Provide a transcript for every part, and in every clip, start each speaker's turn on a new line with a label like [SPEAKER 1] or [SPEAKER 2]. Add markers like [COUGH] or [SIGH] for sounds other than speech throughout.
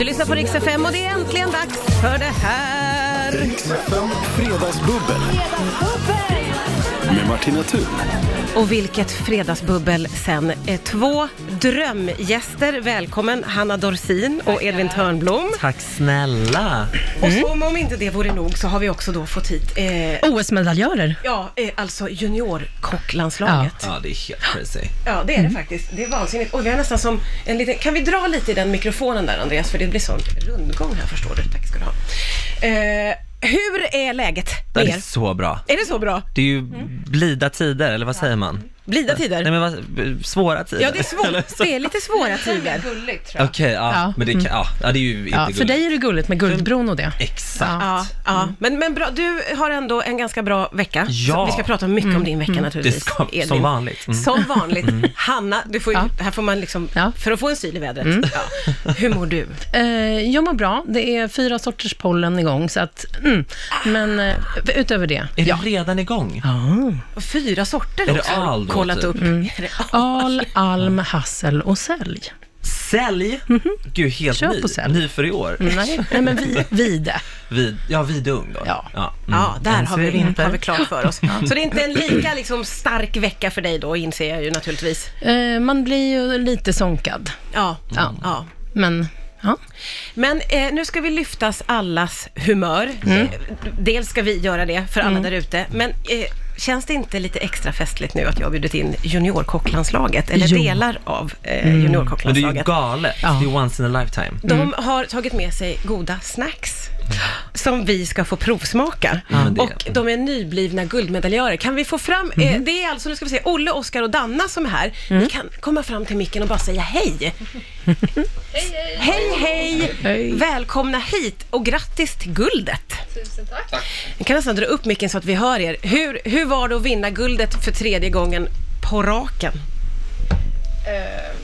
[SPEAKER 1] Du lyssnar på Rix FM och det är äntligen dags för det här.
[SPEAKER 2] Riksfem Fredagsbubbel med Martina Thun.
[SPEAKER 1] Och vilket fredagsbubbel sen. Eh, Två drömgäster. Välkommen Hanna Dorsin och Edvin Törnblom.
[SPEAKER 3] Tack snälla!
[SPEAKER 1] Och som om inte det vore nog så har vi också då fått hit eh,
[SPEAKER 4] OS-medaljörer.
[SPEAKER 1] Ja, eh, alltså juniorkocklandslaget. Ja.
[SPEAKER 3] Ja, det är helt crazy.
[SPEAKER 1] det är det faktiskt. Det är vansinnigt. Och vi har nästan som en liten... Kan vi dra lite i den mikrofonen där, Andreas? För det blir sån rundgång här, förstår du. Tack ska du ha. Eh, hur är läget
[SPEAKER 3] Det
[SPEAKER 1] med
[SPEAKER 3] är
[SPEAKER 1] er?
[SPEAKER 3] så bra.
[SPEAKER 1] Är det så bra?
[SPEAKER 3] Det är ju
[SPEAKER 1] Mm.
[SPEAKER 3] blida tider, eller vad säger man?
[SPEAKER 1] Blida
[SPEAKER 3] Nej
[SPEAKER 1] tider?
[SPEAKER 3] men vad, b- svåra tider.
[SPEAKER 1] Ja, det är,
[SPEAKER 3] Eller
[SPEAKER 1] svår,
[SPEAKER 3] så-
[SPEAKER 1] det är lite svåra tider.
[SPEAKER 3] Okej, ja,
[SPEAKER 4] Ja.
[SPEAKER 3] men det,
[SPEAKER 1] Mm.
[SPEAKER 3] kan, ja, ja, det är ju inte
[SPEAKER 4] Ja, för
[SPEAKER 3] gulligt.
[SPEAKER 4] dig är det gulligt med guldbron och det.
[SPEAKER 3] Exakt.
[SPEAKER 1] Ja, ja. Men, men bra, du har ändå en ganska bra vecka.
[SPEAKER 3] Mm. Ja. Mm.
[SPEAKER 1] Så Vi ska prata mycket om din vecka naturligtvis.
[SPEAKER 3] Det ska-
[SPEAKER 1] Edvin.
[SPEAKER 3] som vanligt. Mm.
[SPEAKER 1] Som vanligt. Hanna, du får, ju-
[SPEAKER 4] Ja.
[SPEAKER 1] här får man liksom,
[SPEAKER 4] Ja.
[SPEAKER 1] för att få en syl i vädret.
[SPEAKER 3] Mm.
[SPEAKER 1] Ja. Hur mår du?
[SPEAKER 4] Eh, jag mår bra. Det är fyra sorters pollen igång, så att... Mm. Men eh, utöver det,
[SPEAKER 3] Är
[SPEAKER 4] ja.
[SPEAKER 3] det redan igång?
[SPEAKER 1] Fyra sorter
[SPEAKER 3] det
[SPEAKER 1] också har du
[SPEAKER 3] all då,
[SPEAKER 1] kollat
[SPEAKER 3] typ?
[SPEAKER 1] upp. Är det all?
[SPEAKER 4] Al, alm, hassel och sälj.
[SPEAKER 3] Sälj?
[SPEAKER 1] Mhm.
[SPEAKER 3] Gud, helt
[SPEAKER 4] Köp
[SPEAKER 3] ny.
[SPEAKER 4] och sälj.
[SPEAKER 3] Ny för i år.
[SPEAKER 1] Mm.
[SPEAKER 4] Nej, nej men vi, vide.
[SPEAKER 3] Vid, ja, Vidung då.
[SPEAKER 4] Ja.
[SPEAKER 3] mm.
[SPEAKER 1] Ja, där har vi,
[SPEAKER 3] Vinter.
[SPEAKER 1] har vi klart för oss. Så det är inte en lika liksom, stark vecka för dig då, inser jag ju naturligtvis.
[SPEAKER 4] Eh, man blir ju lite sonkad,
[SPEAKER 1] Ja.
[SPEAKER 4] Ja.
[SPEAKER 1] ja.
[SPEAKER 4] men... Ja.
[SPEAKER 1] Men eh, nu ska vi lyftas allas humör.
[SPEAKER 3] Mm.
[SPEAKER 1] Eh, Dels ska vi göra det för alla där ute, men eh, känns det inte lite extra festligt nu att jag har bjudit in juniorkocklandslaget, eller
[SPEAKER 4] Jo.
[SPEAKER 1] delar av eh,
[SPEAKER 3] Mm. Men det är ju Mm.
[SPEAKER 1] juniorkocklandslaget?
[SPEAKER 3] galet.
[SPEAKER 4] Ja.
[SPEAKER 3] Det är once in a lifetime.
[SPEAKER 1] De har tagit med sig goda snacks som vi ska få provsmaka.
[SPEAKER 3] Ja, men det-
[SPEAKER 1] Och de är nyblivna guldmedaljörer. Kan vi få fram, eh,
[SPEAKER 3] Mm.
[SPEAKER 1] det är alltså, nu ska vi se, Olle, Oskar och Danna som är här. Ni kan komma fram till micken och bara säga hej.
[SPEAKER 3] [LAUGHS]
[SPEAKER 1] hej, hej. Hej,
[SPEAKER 4] Hej.
[SPEAKER 1] Välkomna hit och grattis till guldet. Tusen tack. Ni kan nästan dra upp micken så att vi hör er. Hur, hur var det att vinna guldet för tredje gången på raken?
[SPEAKER 5] Ehm,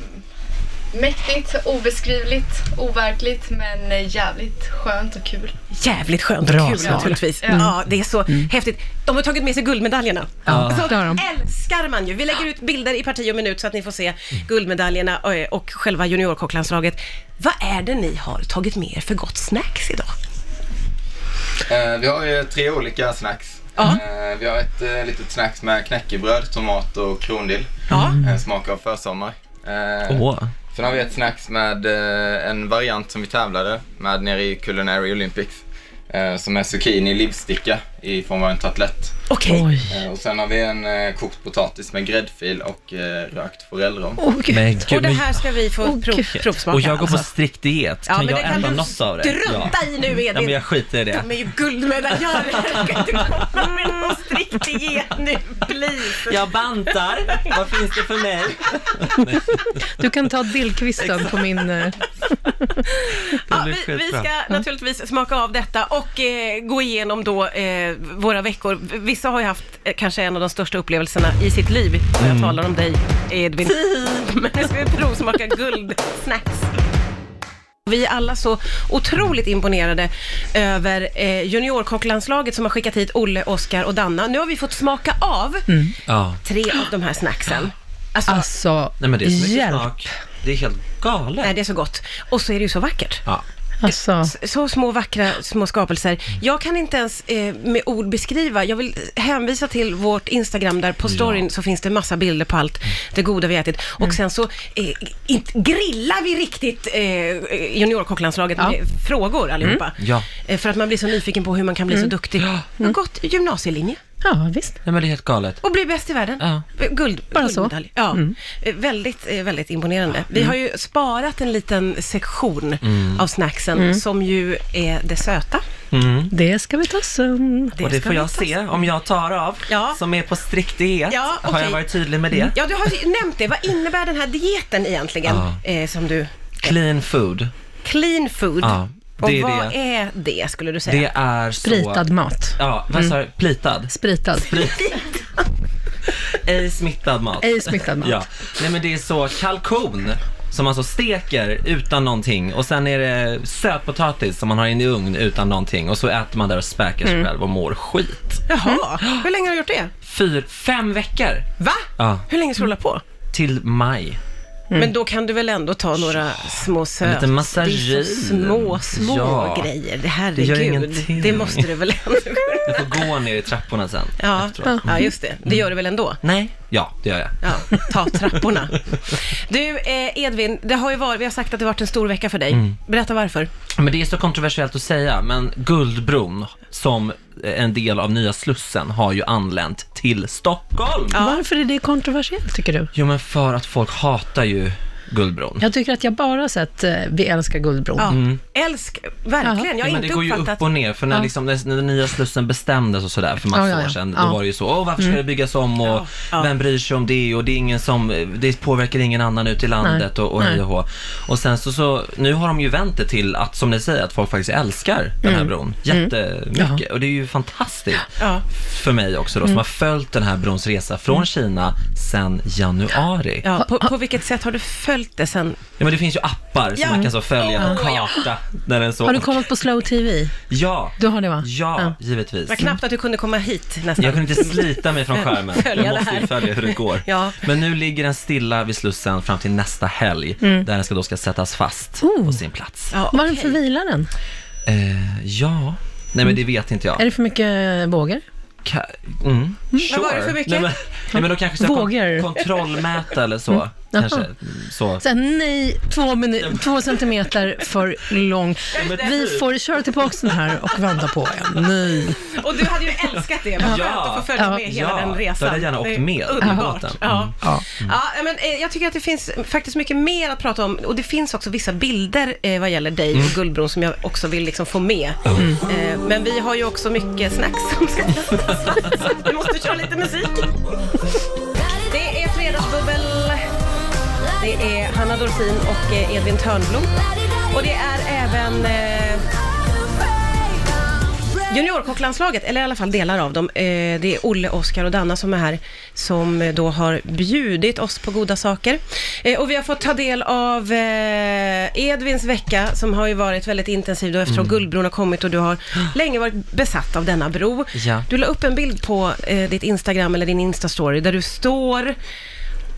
[SPEAKER 5] Mäktigt, obeskrivligt, overkligt men jävligt skönt och kul.
[SPEAKER 1] Jävligt skönt
[SPEAKER 4] Bra
[SPEAKER 1] och kul
[SPEAKER 4] svar.
[SPEAKER 1] naturligtvis. Ja, det är så
[SPEAKER 3] Mm.
[SPEAKER 1] häftigt. De har tagit med sig guldmedaljerna. Alltså,
[SPEAKER 4] Ja, det har de.
[SPEAKER 1] älskar man ju. Vi lägger ut bilder i parti och minut så att ni får se
[SPEAKER 3] Mm.
[SPEAKER 1] guldmedaljerna eh, och själva juniorkocklandslaget. Vad är det ni har tagit med er för gott snacks idag?
[SPEAKER 6] Eh, Vi har ju tre olika snacks.
[SPEAKER 1] Ja.
[SPEAKER 6] Eh, Vi har ett eh, litet snacks med knäckebröd, tomat och krondill.
[SPEAKER 1] Ja.
[SPEAKER 3] Mm.
[SPEAKER 6] En smak av försommar. Eh,
[SPEAKER 3] Åh,
[SPEAKER 6] Sen har vi ett snacks med eh, en variant som vi tävlade med nere i Culinary Olympics. eh, Som är zucchini livsticka i form av en tartlett.
[SPEAKER 1] Okej.
[SPEAKER 4] Oj.
[SPEAKER 6] Eh, Och sen har vi en eh, kokt potatis med gräddfil och eh, rökt forellrom.
[SPEAKER 4] Åh, gud.
[SPEAKER 3] men gud.
[SPEAKER 1] Och det
[SPEAKER 3] men-
[SPEAKER 1] här ska vi få
[SPEAKER 4] Åh,
[SPEAKER 1] prov,
[SPEAKER 4] gud.
[SPEAKER 1] provsmaka.
[SPEAKER 3] och jag går på
[SPEAKER 1] alltså.
[SPEAKER 3] strikt diet.
[SPEAKER 1] Ja,
[SPEAKER 3] kan
[SPEAKER 1] men
[SPEAKER 3] jag
[SPEAKER 1] det kan
[SPEAKER 3] äta
[SPEAKER 1] du
[SPEAKER 3] något av det?
[SPEAKER 1] strunta
[SPEAKER 3] ja.
[SPEAKER 1] i nu, Edvin.
[SPEAKER 3] Ja, men jag skiter i det.
[SPEAKER 1] De är ju guldmedaljörer. Jag kan inte komma med någon strikt diet nu, please.
[SPEAKER 3] Jag bantar. Vad finns det för mig?
[SPEAKER 4] Du kan ta dillkvisten på min... eh,
[SPEAKER 1] Ja,
[SPEAKER 3] blir
[SPEAKER 1] vi, vi
[SPEAKER 3] skitbra.
[SPEAKER 1] ska naturligtvis smaka av detta och eh, gå igenom då eh, våra veckor. Vissa har ju haft eh, kanske en av de största upplevelserna i sitt liv. Och jag talar om dig Edvin. [LAUGHS] Men nu ska vi provsmaka guldsnacks. Vi är alla så otroligt imponerade över eh, juniorkocklandslaget som har skickat hit Olle, Oskar och Danna. Nu har vi fått smaka av
[SPEAKER 3] Ja.
[SPEAKER 1] tre av de här snacksen. Alltså,
[SPEAKER 4] Alltså,
[SPEAKER 3] Nej, men det är så mycket
[SPEAKER 4] hjälp.
[SPEAKER 3] smak. Det är helt galet.
[SPEAKER 1] nej, det är så gott. Och så är det ju så vackert.
[SPEAKER 3] Ja.
[SPEAKER 4] Alltså,
[SPEAKER 1] så små vackra små skapelser. Jag kan inte ens eh, med ord beskriva. Jag vill hänvisa till vårt Instagram där på storyn så finns det massa bilder på allt det goda vi ätit. Och sen så eh, inte- grillar vi riktigt eh, juniorkocklandslaget
[SPEAKER 4] Ja.
[SPEAKER 1] med frågor allihopa.
[SPEAKER 3] Ja.
[SPEAKER 1] Eh, för att man blir så nyfiken på hur man kan bli så duktig. Mm. Gått gymnasielinje
[SPEAKER 4] ja visst.
[SPEAKER 3] Nej, men det är helt galet.
[SPEAKER 1] och bli bäst i världen.
[SPEAKER 3] Ja.
[SPEAKER 1] Guld,
[SPEAKER 4] Bara så. Mm.
[SPEAKER 1] guldmedalj. Ja. Eh, Väldigt, eh, väldigt imponerande. Vi har ju sparat en liten sektion
[SPEAKER 3] Mm.
[SPEAKER 1] av snacksen
[SPEAKER 4] Mm.
[SPEAKER 1] som ju är det söta.
[SPEAKER 4] Det ska vi ta sen.
[SPEAKER 3] och det
[SPEAKER 1] ska
[SPEAKER 3] får
[SPEAKER 1] vi
[SPEAKER 3] jag
[SPEAKER 1] ta.
[SPEAKER 3] se om jag tar av,
[SPEAKER 1] Ja.
[SPEAKER 3] som är på strikt diet.
[SPEAKER 1] Ja,
[SPEAKER 3] Har jag
[SPEAKER 1] okej. Mm.
[SPEAKER 3] varit tydlig med det?
[SPEAKER 1] Ja, du har ju nämnt det. Vad innebär den här dieten egentligen?
[SPEAKER 3] Ja.
[SPEAKER 1] Eh, som du...
[SPEAKER 3] Clean food,
[SPEAKER 1] Clean food.
[SPEAKER 3] Ja, det
[SPEAKER 1] och
[SPEAKER 3] är
[SPEAKER 1] vad
[SPEAKER 3] det.
[SPEAKER 1] är det, skulle du säga?
[SPEAKER 3] det är så...
[SPEAKER 4] Spritad mat.
[SPEAKER 3] Ja, vad
[SPEAKER 1] Mm.
[SPEAKER 3] sa du? Plitad?
[SPEAKER 4] Spritad.
[SPEAKER 3] Ej smittad mat.
[SPEAKER 4] Ej smittad mat.
[SPEAKER 3] Ja. Nej men det är så kalkon som alltså steker utan någonting och sen är det sötpotatis som man har in i ugn utan någonting och så äter man där och späker
[SPEAKER 1] Mm.
[SPEAKER 3] sig själv och mår skit.
[SPEAKER 1] Jaha, hur länge har du gjort det?
[SPEAKER 3] Fyra, fem veckor
[SPEAKER 1] Va?
[SPEAKER 3] Mm. Ja.
[SPEAKER 1] Hur länge ska du hålla på?
[SPEAKER 3] till maj.
[SPEAKER 4] Mm.
[SPEAKER 1] Men då kan du väl ändå ta några små söt...
[SPEAKER 3] liten massage.
[SPEAKER 1] Det är så små, små
[SPEAKER 3] Ja.
[SPEAKER 1] grejer.
[SPEAKER 3] Det gör
[SPEAKER 1] Herregud. Det,
[SPEAKER 3] ingenting.
[SPEAKER 1] det måste du väl ändå kunna.
[SPEAKER 3] Jag får gå ner i trapporna sen.
[SPEAKER 1] Ja.
[SPEAKER 3] efteråt. Mm.
[SPEAKER 1] ja, just det. Det gör du väl ändå?
[SPEAKER 3] Nej. Ja, det gör jag.
[SPEAKER 1] Ja, ta trapporna. Du, eh, Edvin, det har ju varit, vi har sagt att det har varit en stor vecka för dig.
[SPEAKER 3] Mm.
[SPEAKER 1] Berätta varför.
[SPEAKER 3] Men det är så kontroversiellt att säga, men Guldbron som en del av nya Slussen har ju anlänt till Stockholm.
[SPEAKER 4] Varför är det kontroversiellt, tycker du?
[SPEAKER 3] Jo men för att folk hatar ju Guldbron.
[SPEAKER 4] Jag tycker att jag bara har sett eh, Vi älskar Guldbron.
[SPEAKER 1] Ja. Älsk, verkligen. Jag har
[SPEAKER 3] Jo, Mm. men
[SPEAKER 1] inte
[SPEAKER 3] det går ju
[SPEAKER 1] uppfattat...
[SPEAKER 3] upp och ner, för när,
[SPEAKER 4] Ja.
[SPEAKER 3] liksom, när, när den nya Slussen bestämdes och sådär för massa
[SPEAKER 4] Ja, ja, ja.
[SPEAKER 3] år sedan,
[SPEAKER 4] Ja. Mm.
[SPEAKER 3] då var det ju så, åh varför ska det byggas om och
[SPEAKER 1] Ja, ja.
[SPEAKER 3] vem bryr sig om det och det, är ingen som, det påverkar ingen annan ute i landet och, och
[SPEAKER 4] Nej.
[SPEAKER 3] hej och hå. Och sen så, så, nu har de ju vänt det till att, som ni säger, att folk faktiskt älskar den
[SPEAKER 4] Mm.
[SPEAKER 3] här bron jättemycket. Och det är ju fantastiskt
[SPEAKER 1] Ja.
[SPEAKER 3] för mig också
[SPEAKER 4] Mm.
[SPEAKER 3] då, som har följt den här brons resa från Kina sedan januari. Ja.
[SPEAKER 1] Ja, på, på vilket sätt har du följt det sen?
[SPEAKER 3] men det finns ju appar som
[SPEAKER 1] Ja.
[SPEAKER 3] man kan så följa en karta när den så...
[SPEAKER 4] Har du kollat på Slow TV?
[SPEAKER 3] Ja.
[SPEAKER 4] Du har det, va?
[SPEAKER 3] Ja,
[SPEAKER 4] Ja.
[SPEAKER 3] givetvis.
[SPEAKER 1] Det var knappt att du kunde komma hit nästan.
[SPEAKER 3] Jag kunde inte slita mig från skärmen.
[SPEAKER 1] Följa
[SPEAKER 3] jag
[SPEAKER 1] det
[SPEAKER 3] måste
[SPEAKER 1] här.
[SPEAKER 3] ju följa hur det går.
[SPEAKER 1] Ja.
[SPEAKER 3] Men nu ligger den stilla vid Slussen fram till nästa helg, där den ska då ska sättas fast
[SPEAKER 4] Oh.
[SPEAKER 3] på sin plats.
[SPEAKER 1] Mm. Ja, okej.
[SPEAKER 4] Varför vilar den?
[SPEAKER 3] Eh, ja, nej men det vet inte jag.
[SPEAKER 4] Är det för mycket vågor?
[SPEAKER 3] Ka- mm. sure.
[SPEAKER 1] var det för mycket?
[SPEAKER 3] Nej, men, nej, men då kanske ska
[SPEAKER 4] Vågor.
[SPEAKER 3] kon- kontrollmäta eller
[SPEAKER 1] Mm.
[SPEAKER 3] så. Kanske. så.
[SPEAKER 4] Så här, nej, två, minu- två centimeter för lång. Vi får köra tillbaka den här och vända på en. Nej.
[SPEAKER 1] [LAUGHS] Och du hade ju älskat det. Vad
[SPEAKER 3] Ja.
[SPEAKER 1] skönt att få följa
[SPEAKER 4] Ja.
[SPEAKER 1] med hela
[SPEAKER 3] Ja.
[SPEAKER 1] den resan.
[SPEAKER 3] Då hade jag gärna
[SPEAKER 1] Det är
[SPEAKER 3] åkt med
[SPEAKER 1] Underbart.
[SPEAKER 3] på båten.
[SPEAKER 1] Ja.
[SPEAKER 3] Mm.
[SPEAKER 1] Ja. men, eh, jag tycker att det finns faktiskt mycket mer att prata om och det finns också vissa bilder eh, vad gäller dig
[SPEAKER 3] Mm.
[SPEAKER 1] och Guldbron som jag också vill liksom få med. Eh, men vi har ju också mycket snacks som ska testas. så vi måste köra lite musik. Det är Fredagsbubbel. Det är Hanna Dorsin och eh, Edvin Törnblom. Och det är även eh, Juniorkocklandslaget, eller i alla fall delar av dem, eh, det är Olle, Oskar och Danna som är här, som eh, då har bjudit oss på goda saker. Eh, Och vi har fått ta del av eh, Edvins vecka, som har ju varit väldigt intensiv då eftersom
[SPEAKER 3] Mm.
[SPEAKER 1] Guldbron har kommit och du
[SPEAKER 3] [GASPS]
[SPEAKER 1] har länge varit besatt av denna bro.
[SPEAKER 3] Ja.
[SPEAKER 1] Du la upp en bild på eh, ditt Instagram eller din Instastory där du står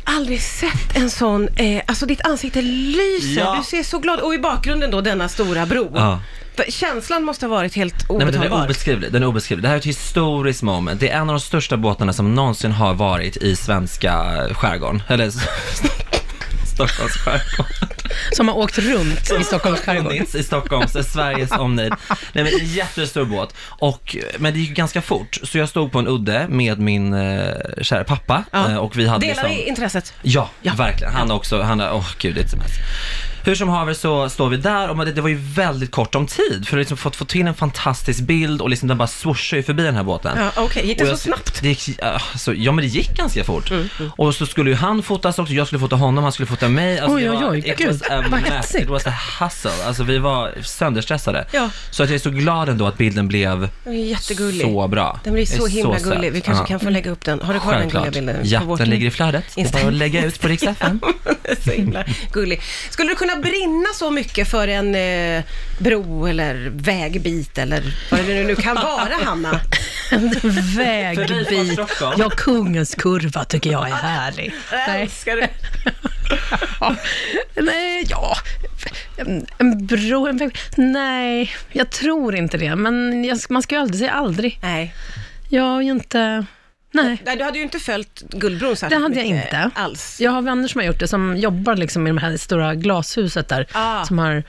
[SPEAKER 1] Aldrig sett en sån, eh, alltså ditt ansikte lyser,
[SPEAKER 3] Ja.
[SPEAKER 1] du ser så glad och i bakgrunden då denna stora bro.
[SPEAKER 3] Ja.
[SPEAKER 1] För Känslan måste ha varit helt
[SPEAKER 3] Nej, men den är
[SPEAKER 1] obetalbar.
[SPEAKER 3] obeskrivlig. Den är obeskrivlig. Det här är ett historiskt moment. Det är en av de största båtarna som någonsin har varit i svenska skärgården. Eller [LAUGHS] s- Stockholms skärgård.
[SPEAKER 4] Som har åkt runt i
[SPEAKER 3] [LAUGHS]
[SPEAKER 4] Stockholms skärgård.
[SPEAKER 3] funnits i Stockholms, eh, Sveriges omnejd. Nej men en jättestor båt. Och, men det gick ganska fort, så jag stod på en udde med min eh, kära pappa.
[SPEAKER 1] Ja.
[SPEAKER 3] Eh, och vi hade
[SPEAKER 1] Delar
[SPEAKER 3] liksom...
[SPEAKER 1] vi intresset?
[SPEAKER 3] Ja,
[SPEAKER 1] Ja.
[SPEAKER 3] verkligen. Han har också, han har, åh gud, det är ett sms. Hur som haver så står vi där och man- det, det var ju väldigt kort om tid för att liksom fått, fått till en fantastisk bild och liksom den bara swooshar ju förbi den här båten.
[SPEAKER 1] Ja, okej. Gick det
[SPEAKER 3] Och
[SPEAKER 1] så
[SPEAKER 3] jag-
[SPEAKER 1] snabbt? Mm,
[SPEAKER 3] Det gick, ja, så, ja men det gick ganska fort. Och så skulle ju han fotas också, jag skulle fota honom, han skulle fota mig. Alltså,
[SPEAKER 4] Oj,
[SPEAKER 3] det
[SPEAKER 4] oj,
[SPEAKER 3] var-
[SPEAKER 4] oj,
[SPEAKER 3] It
[SPEAKER 4] gud,
[SPEAKER 3] was a
[SPEAKER 4] vad
[SPEAKER 3] mess,
[SPEAKER 4] hetsigt.
[SPEAKER 3] it was a hustle. Alltså vi var sönderstressade.
[SPEAKER 1] Ja.
[SPEAKER 3] Så att jag är så glad ändå att bilden blev
[SPEAKER 1] Den är jättegullig.
[SPEAKER 3] så bra.
[SPEAKER 1] Den blir
[SPEAKER 3] Det är
[SPEAKER 1] så himla
[SPEAKER 3] söt.
[SPEAKER 1] gullig. Vi kanske
[SPEAKER 3] Ja.
[SPEAKER 1] kan få lägga upp den. Har du kvar
[SPEAKER 3] Självklart.
[SPEAKER 1] den gulliga bilden?
[SPEAKER 3] Ja,
[SPEAKER 1] på vårt-
[SPEAKER 3] den ligger i flödet. Det är bara att lägga ut på Rix FM.
[SPEAKER 1] [LAUGHS] så himla gullig. Skulle du kunna brinna så mycket för en eh, bro eller vägbit eller vad det nu- nu kan
[SPEAKER 3] [LAUGHS]
[SPEAKER 1] vara, Hanna?
[SPEAKER 4] En
[SPEAKER 3] Förbi
[SPEAKER 4] vägbit.
[SPEAKER 3] från Stockholm.
[SPEAKER 4] Ja, kungens kurva tycker jag är härlig. Nej.
[SPEAKER 1] Älskar du?
[SPEAKER 4] Ja. Nej, ja. En- En bro, en väg. Nej, jag tror inte det. Men jag, man ska ju aldrig säga aldrig.
[SPEAKER 1] Nej.
[SPEAKER 4] Jag är ju inte... Nej.
[SPEAKER 1] Nej, du hade ju inte följt Guldbron särskilt
[SPEAKER 4] Det hade jag
[SPEAKER 1] mycket
[SPEAKER 4] inte.
[SPEAKER 1] Alls.
[SPEAKER 4] Jag har vänner som har gjort det, som jobbar liksom i det här stora glashuset där,
[SPEAKER 1] Ah.
[SPEAKER 4] som har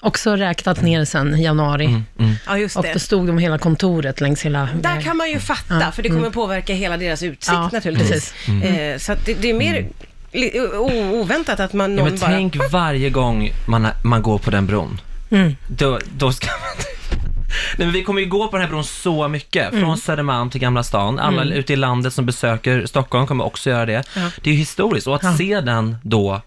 [SPEAKER 4] också räknat ner sen i januari.
[SPEAKER 1] Ja, just
[SPEAKER 4] Och
[SPEAKER 1] det.
[SPEAKER 4] då stod de hela kontoret längs hela
[SPEAKER 1] Där
[SPEAKER 4] vägen.
[SPEAKER 1] kan man ju fatta, för det kommer påverka hela deras utsikt
[SPEAKER 4] Mm. Ja,
[SPEAKER 1] naturligtvis.
[SPEAKER 4] precis. Mm.
[SPEAKER 1] Eh, så att det, det är mer li- o- oväntat att man
[SPEAKER 3] Mm. Ja,
[SPEAKER 1] någon
[SPEAKER 3] men
[SPEAKER 1] bara...
[SPEAKER 3] tänk varje gång man, man går på den bron.
[SPEAKER 1] Mm.
[SPEAKER 3] Då, då ska man... [LAUGHS] Nej, men vi kommer ju gå på den här bron så mycket,
[SPEAKER 1] Mm.
[SPEAKER 3] från Södermalm till Gamla stan. Alla ute i landet som besöker Stockholm kommer också göra det. Det är ju historiskt, och att se den då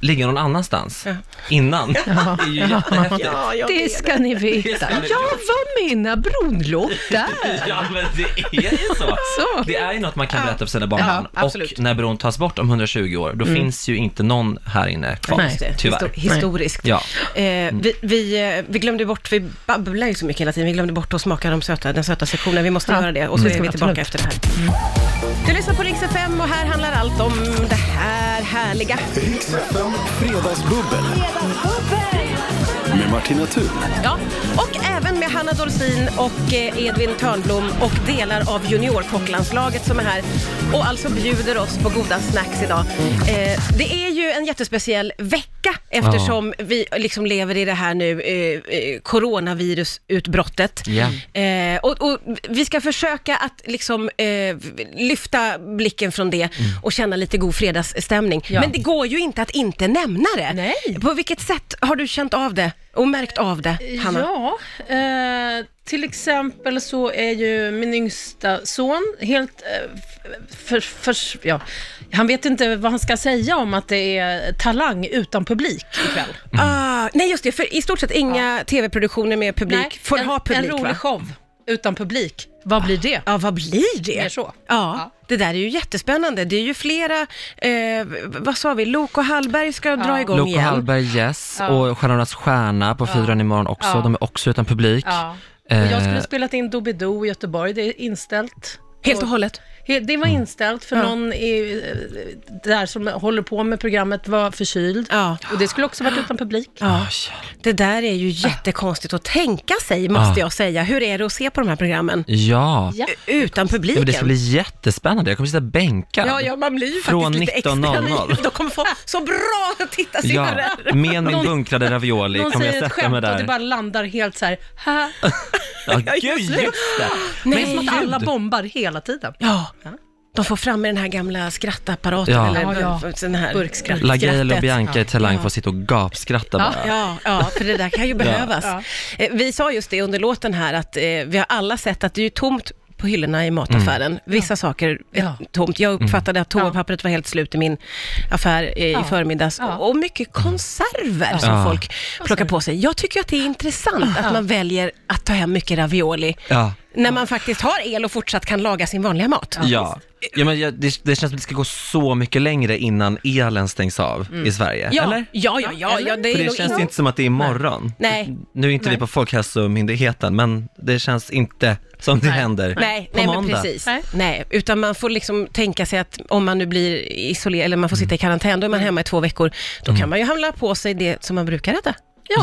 [SPEAKER 3] ligga någon annanstans innan, [LAUGHS] det är ju jättehäftigt.
[SPEAKER 1] Mm. Ja, jag
[SPEAKER 4] Det
[SPEAKER 1] vet.
[SPEAKER 4] ska ni
[SPEAKER 3] Det
[SPEAKER 4] veta.
[SPEAKER 3] ska ni veta.
[SPEAKER 4] Jag var med när bron låg där.
[SPEAKER 3] Ja, men det är ju så.
[SPEAKER 4] Så.
[SPEAKER 3] Det är ju något man kan berätta för sina barnbarn.
[SPEAKER 1] Ja, absolut.
[SPEAKER 3] och när bron tas bort om 120 år, då finns ju inte någon här inne kvar,
[SPEAKER 4] Nej.
[SPEAKER 1] Just det,
[SPEAKER 3] tyvärr.
[SPEAKER 1] histo- Historiskt.
[SPEAKER 3] Ja.
[SPEAKER 1] Eh, vi, vi, eh, vi glömde bort, vi babblar ju så mycket hela tiden, vi glömde bort att smaka de söta, den söta sektionen. Vi måste
[SPEAKER 4] Ja,
[SPEAKER 1] göra det och så
[SPEAKER 4] det
[SPEAKER 1] är
[SPEAKER 4] ska
[SPEAKER 1] vi
[SPEAKER 4] vi
[SPEAKER 1] tillbaka
[SPEAKER 4] absolut.
[SPEAKER 1] efter det här. Du lyssnar på Rix FM och här handlar allt om det här.
[SPEAKER 7] härliga.
[SPEAKER 2] Riks FM Fredagsbubbel med Martina Thun.
[SPEAKER 1] Ja, och även med Hanna Dorsin och eh, Edvin Törnblom och delar av juniorkocklandslaget som är här och alltså bjuder oss på goda snacks idag.
[SPEAKER 4] Mm.
[SPEAKER 1] Eh, det är ju en jättespeciell vecka eftersom vi liksom lever i det här nu, eh, eh, coronavirusutbrottet.
[SPEAKER 3] Ja.
[SPEAKER 1] Eh, och, och vi ska försöka att liksom eh, lyfta blicken från det och känna lite god fredagsstämning.
[SPEAKER 4] Mm. Ja.
[SPEAKER 1] Men det går ju inte att inte nämna det.
[SPEAKER 4] Nej.
[SPEAKER 1] På vilket sätt har du känt av det och märkt av det, Hanna?
[SPEAKER 4] Ja, eh, till exempel så är ju min yngsta son helt... Eh, f- för, för, ja, han vet inte vad han ska säga om att det är talang utan publik ikväll.
[SPEAKER 3] Mm.
[SPEAKER 1] Ah, nej just det, för i stort sett inga tv-produktioner med publik får
[SPEAKER 4] en,
[SPEAKER 1] ha publik
[SPEAKER 4] En rolig
[SPEAKER 1] va?
[SPEAKER 4] show utan publik. Vad blir det?
[SPEAKER 1] Ja, vad blir det?
[SPEAKER 4] Mer så.
[SPEAKER 1] Ja,
[SPEAKER 4] Ja.
[SPEAKER 1] det där är ju jättespännande. Det är ju flera, eh, vad sa vi, Lok och Hallberg ska dra igång
[SPEAKER 3] Loco
[SPEAKER 1] igen.
[SPEAKER 3] Hallberg, Yes och Stjärnornas stjärna på fyran imorgon också. De är också utan publik.
[SPEAKER 4] Ja.
[SPEAKER 3] Eh,
[SPEAKER 4] Och jag skulle ha spelat in Doobidoo i Göteborg, det är inställt.
[SPEAKER 1] Helt och hållet.
[SPEAKER 4] He- Det var
[SPEAKER 1] Mm.
[SPEAKER 4] inställt för någon i, eh, där som håller på med programmet var förkyld.
[SPEAKER 1] Ja.
[SPEAKER 4] Och det skulle också varit utan publik.
[SPEAKER 1] Ja. Det där är ju
[SPEAKER 3] Ah.
[SPEAKER 1] jättekonstigt att tänka sig, måste
[SPEAKER 3] Ja.
[SPEAKER 1] jag säga. Hur är det att se på de här programmen?
[SPEAKER 3] Ah. Ja.
[SPEAKER 4] Ja.
[SPEAKER 1] Utan
[SPEAKER 3] Ja, men det
[SPEAKER 1] publiken.
[SPEAKER 3] ska bli jättespännande. Jag kommer sitta bänkad.
[SPEAKER 1] Ja, ja, man blir ju
[SPEAKER 3] Från
[SPEAKER 1] faktiskt lite extra
[SPEAKER 3] 19.00.
[SPEAKER 1] naiv. [LAUGHS] De kommer få så bra
[SPEAKER 3] Ja,
[SPEAKER 1] tittarsiffror.
[SPEAKER 3] med min bunkrade ravioli
[SPEAKER 4] Någon
[SPEAKER 3] kommer jag
[SPEAKER 4] säger ett
[SPEAKER 3] sätta mig
[SPEAKER 4] skämt och det
[SPEAKER 3] där.
[SPEAKER 4] bara landar helt så här. Haha.
[SPEAKER 3] Ja,
[SPEAKER 1] Ja,
[SPEAKER 3] gud,
[SPEAKER 1] just
[SPEAKER 3] just
[SPEAKER 1] det.
[SPEAKER 3] det.
[SPEAKER 4] Det är
[SPEAKER 1] Nej,
[SPEAKER 4] som att alla
[SPEAKER 3] Gud.
[SPEAKER 4] bombar hela tiden.
[SPEAKER 1] Ja. De får fram med den här gamla skrattapparaten
[SPEAKER 3] Ja.
[SPEAKER 1] eller
[SPEAKER 4] Ja, ja.
[SPEAKER 1] Den här
[SPEAKER 4] Burkskratt.
[SPEAKER 3] Lagrell och
[SPEAKER 1] skrattet.
[SPEAKER 3] Bianca i Talang får sitta och gapskratta bara.
[SPEAKER 1] Ja, ja, för det där kan ju behövas.
[SPEAKER 4] Ja.
[SPEAKER 1] Eh, Vi sa just det under låten här att eh, vi har alla sett att det är ju tomt på hyllorna i mataffären.
[SPEAKER 3] Mm.
[SPEAKER 1] Vissa saker är
[SPEAKER 4] Ja.
[SPEAKER 1] tomt. Jag uppfattade att toapappret var helt slut i min affär eh, i förmiddags.
[SPEAKER 4] Ja.
[SPEAKER 1] Och mycket konserver som
[SPEAKER 3] Ja.
[SPEAKER 1] folk plockar på sig. Jag tycker ju att det är intressant att man väljer att ta hem mycket ravioli.
[SPEAKER 3] Ja.
[SPEAKER 1] När man faktiskt har el och fortsatt kan laga sin vanliga mat.
[SPEAKER 3] Ja, ja men jag, det, det känns som att det ska gå så mycket längre innan elen stängs av i Sverige,
[SPEAKER 1] Ja,
[SPEAKER 3] eller?
[SPEAKER 1] ja, ja, ja, ja det
[SPEAKER 3] För
[SPEAKER 1] är
[SPEAKER 3] det
[SPEAKER 1] nog
[SPEAKER 3] känns
[SPEAKER 1] ingen-
[SPEAKER 3] inte som att det är imorgon.
[SPEAKER 1] Nej.
[SPEAKER 3] Nu är inte vi på Folkhälsomyndigheten, men det känns inte som det händer
[SPEAKER 1] Nej,
[SPEAKER 3] på
[SPEAKER 1] nej men
[SPEAKER 3] måndag.
[SPEAKER 1] precis. Nej.
[SPEAKER 4] Nej.
[SPEAKER 1] utan man får liksom tänka sig att om man nu blir isolerad, eller
[SPEAKER 3] Mm.
[SPEAKER 1] man får sitta i karantän, då
[SPEAKER 4] Mm.
[SPEAKER 1] är man hemma i två veckor. Då kan man ju handla på sig det som man brukar äta,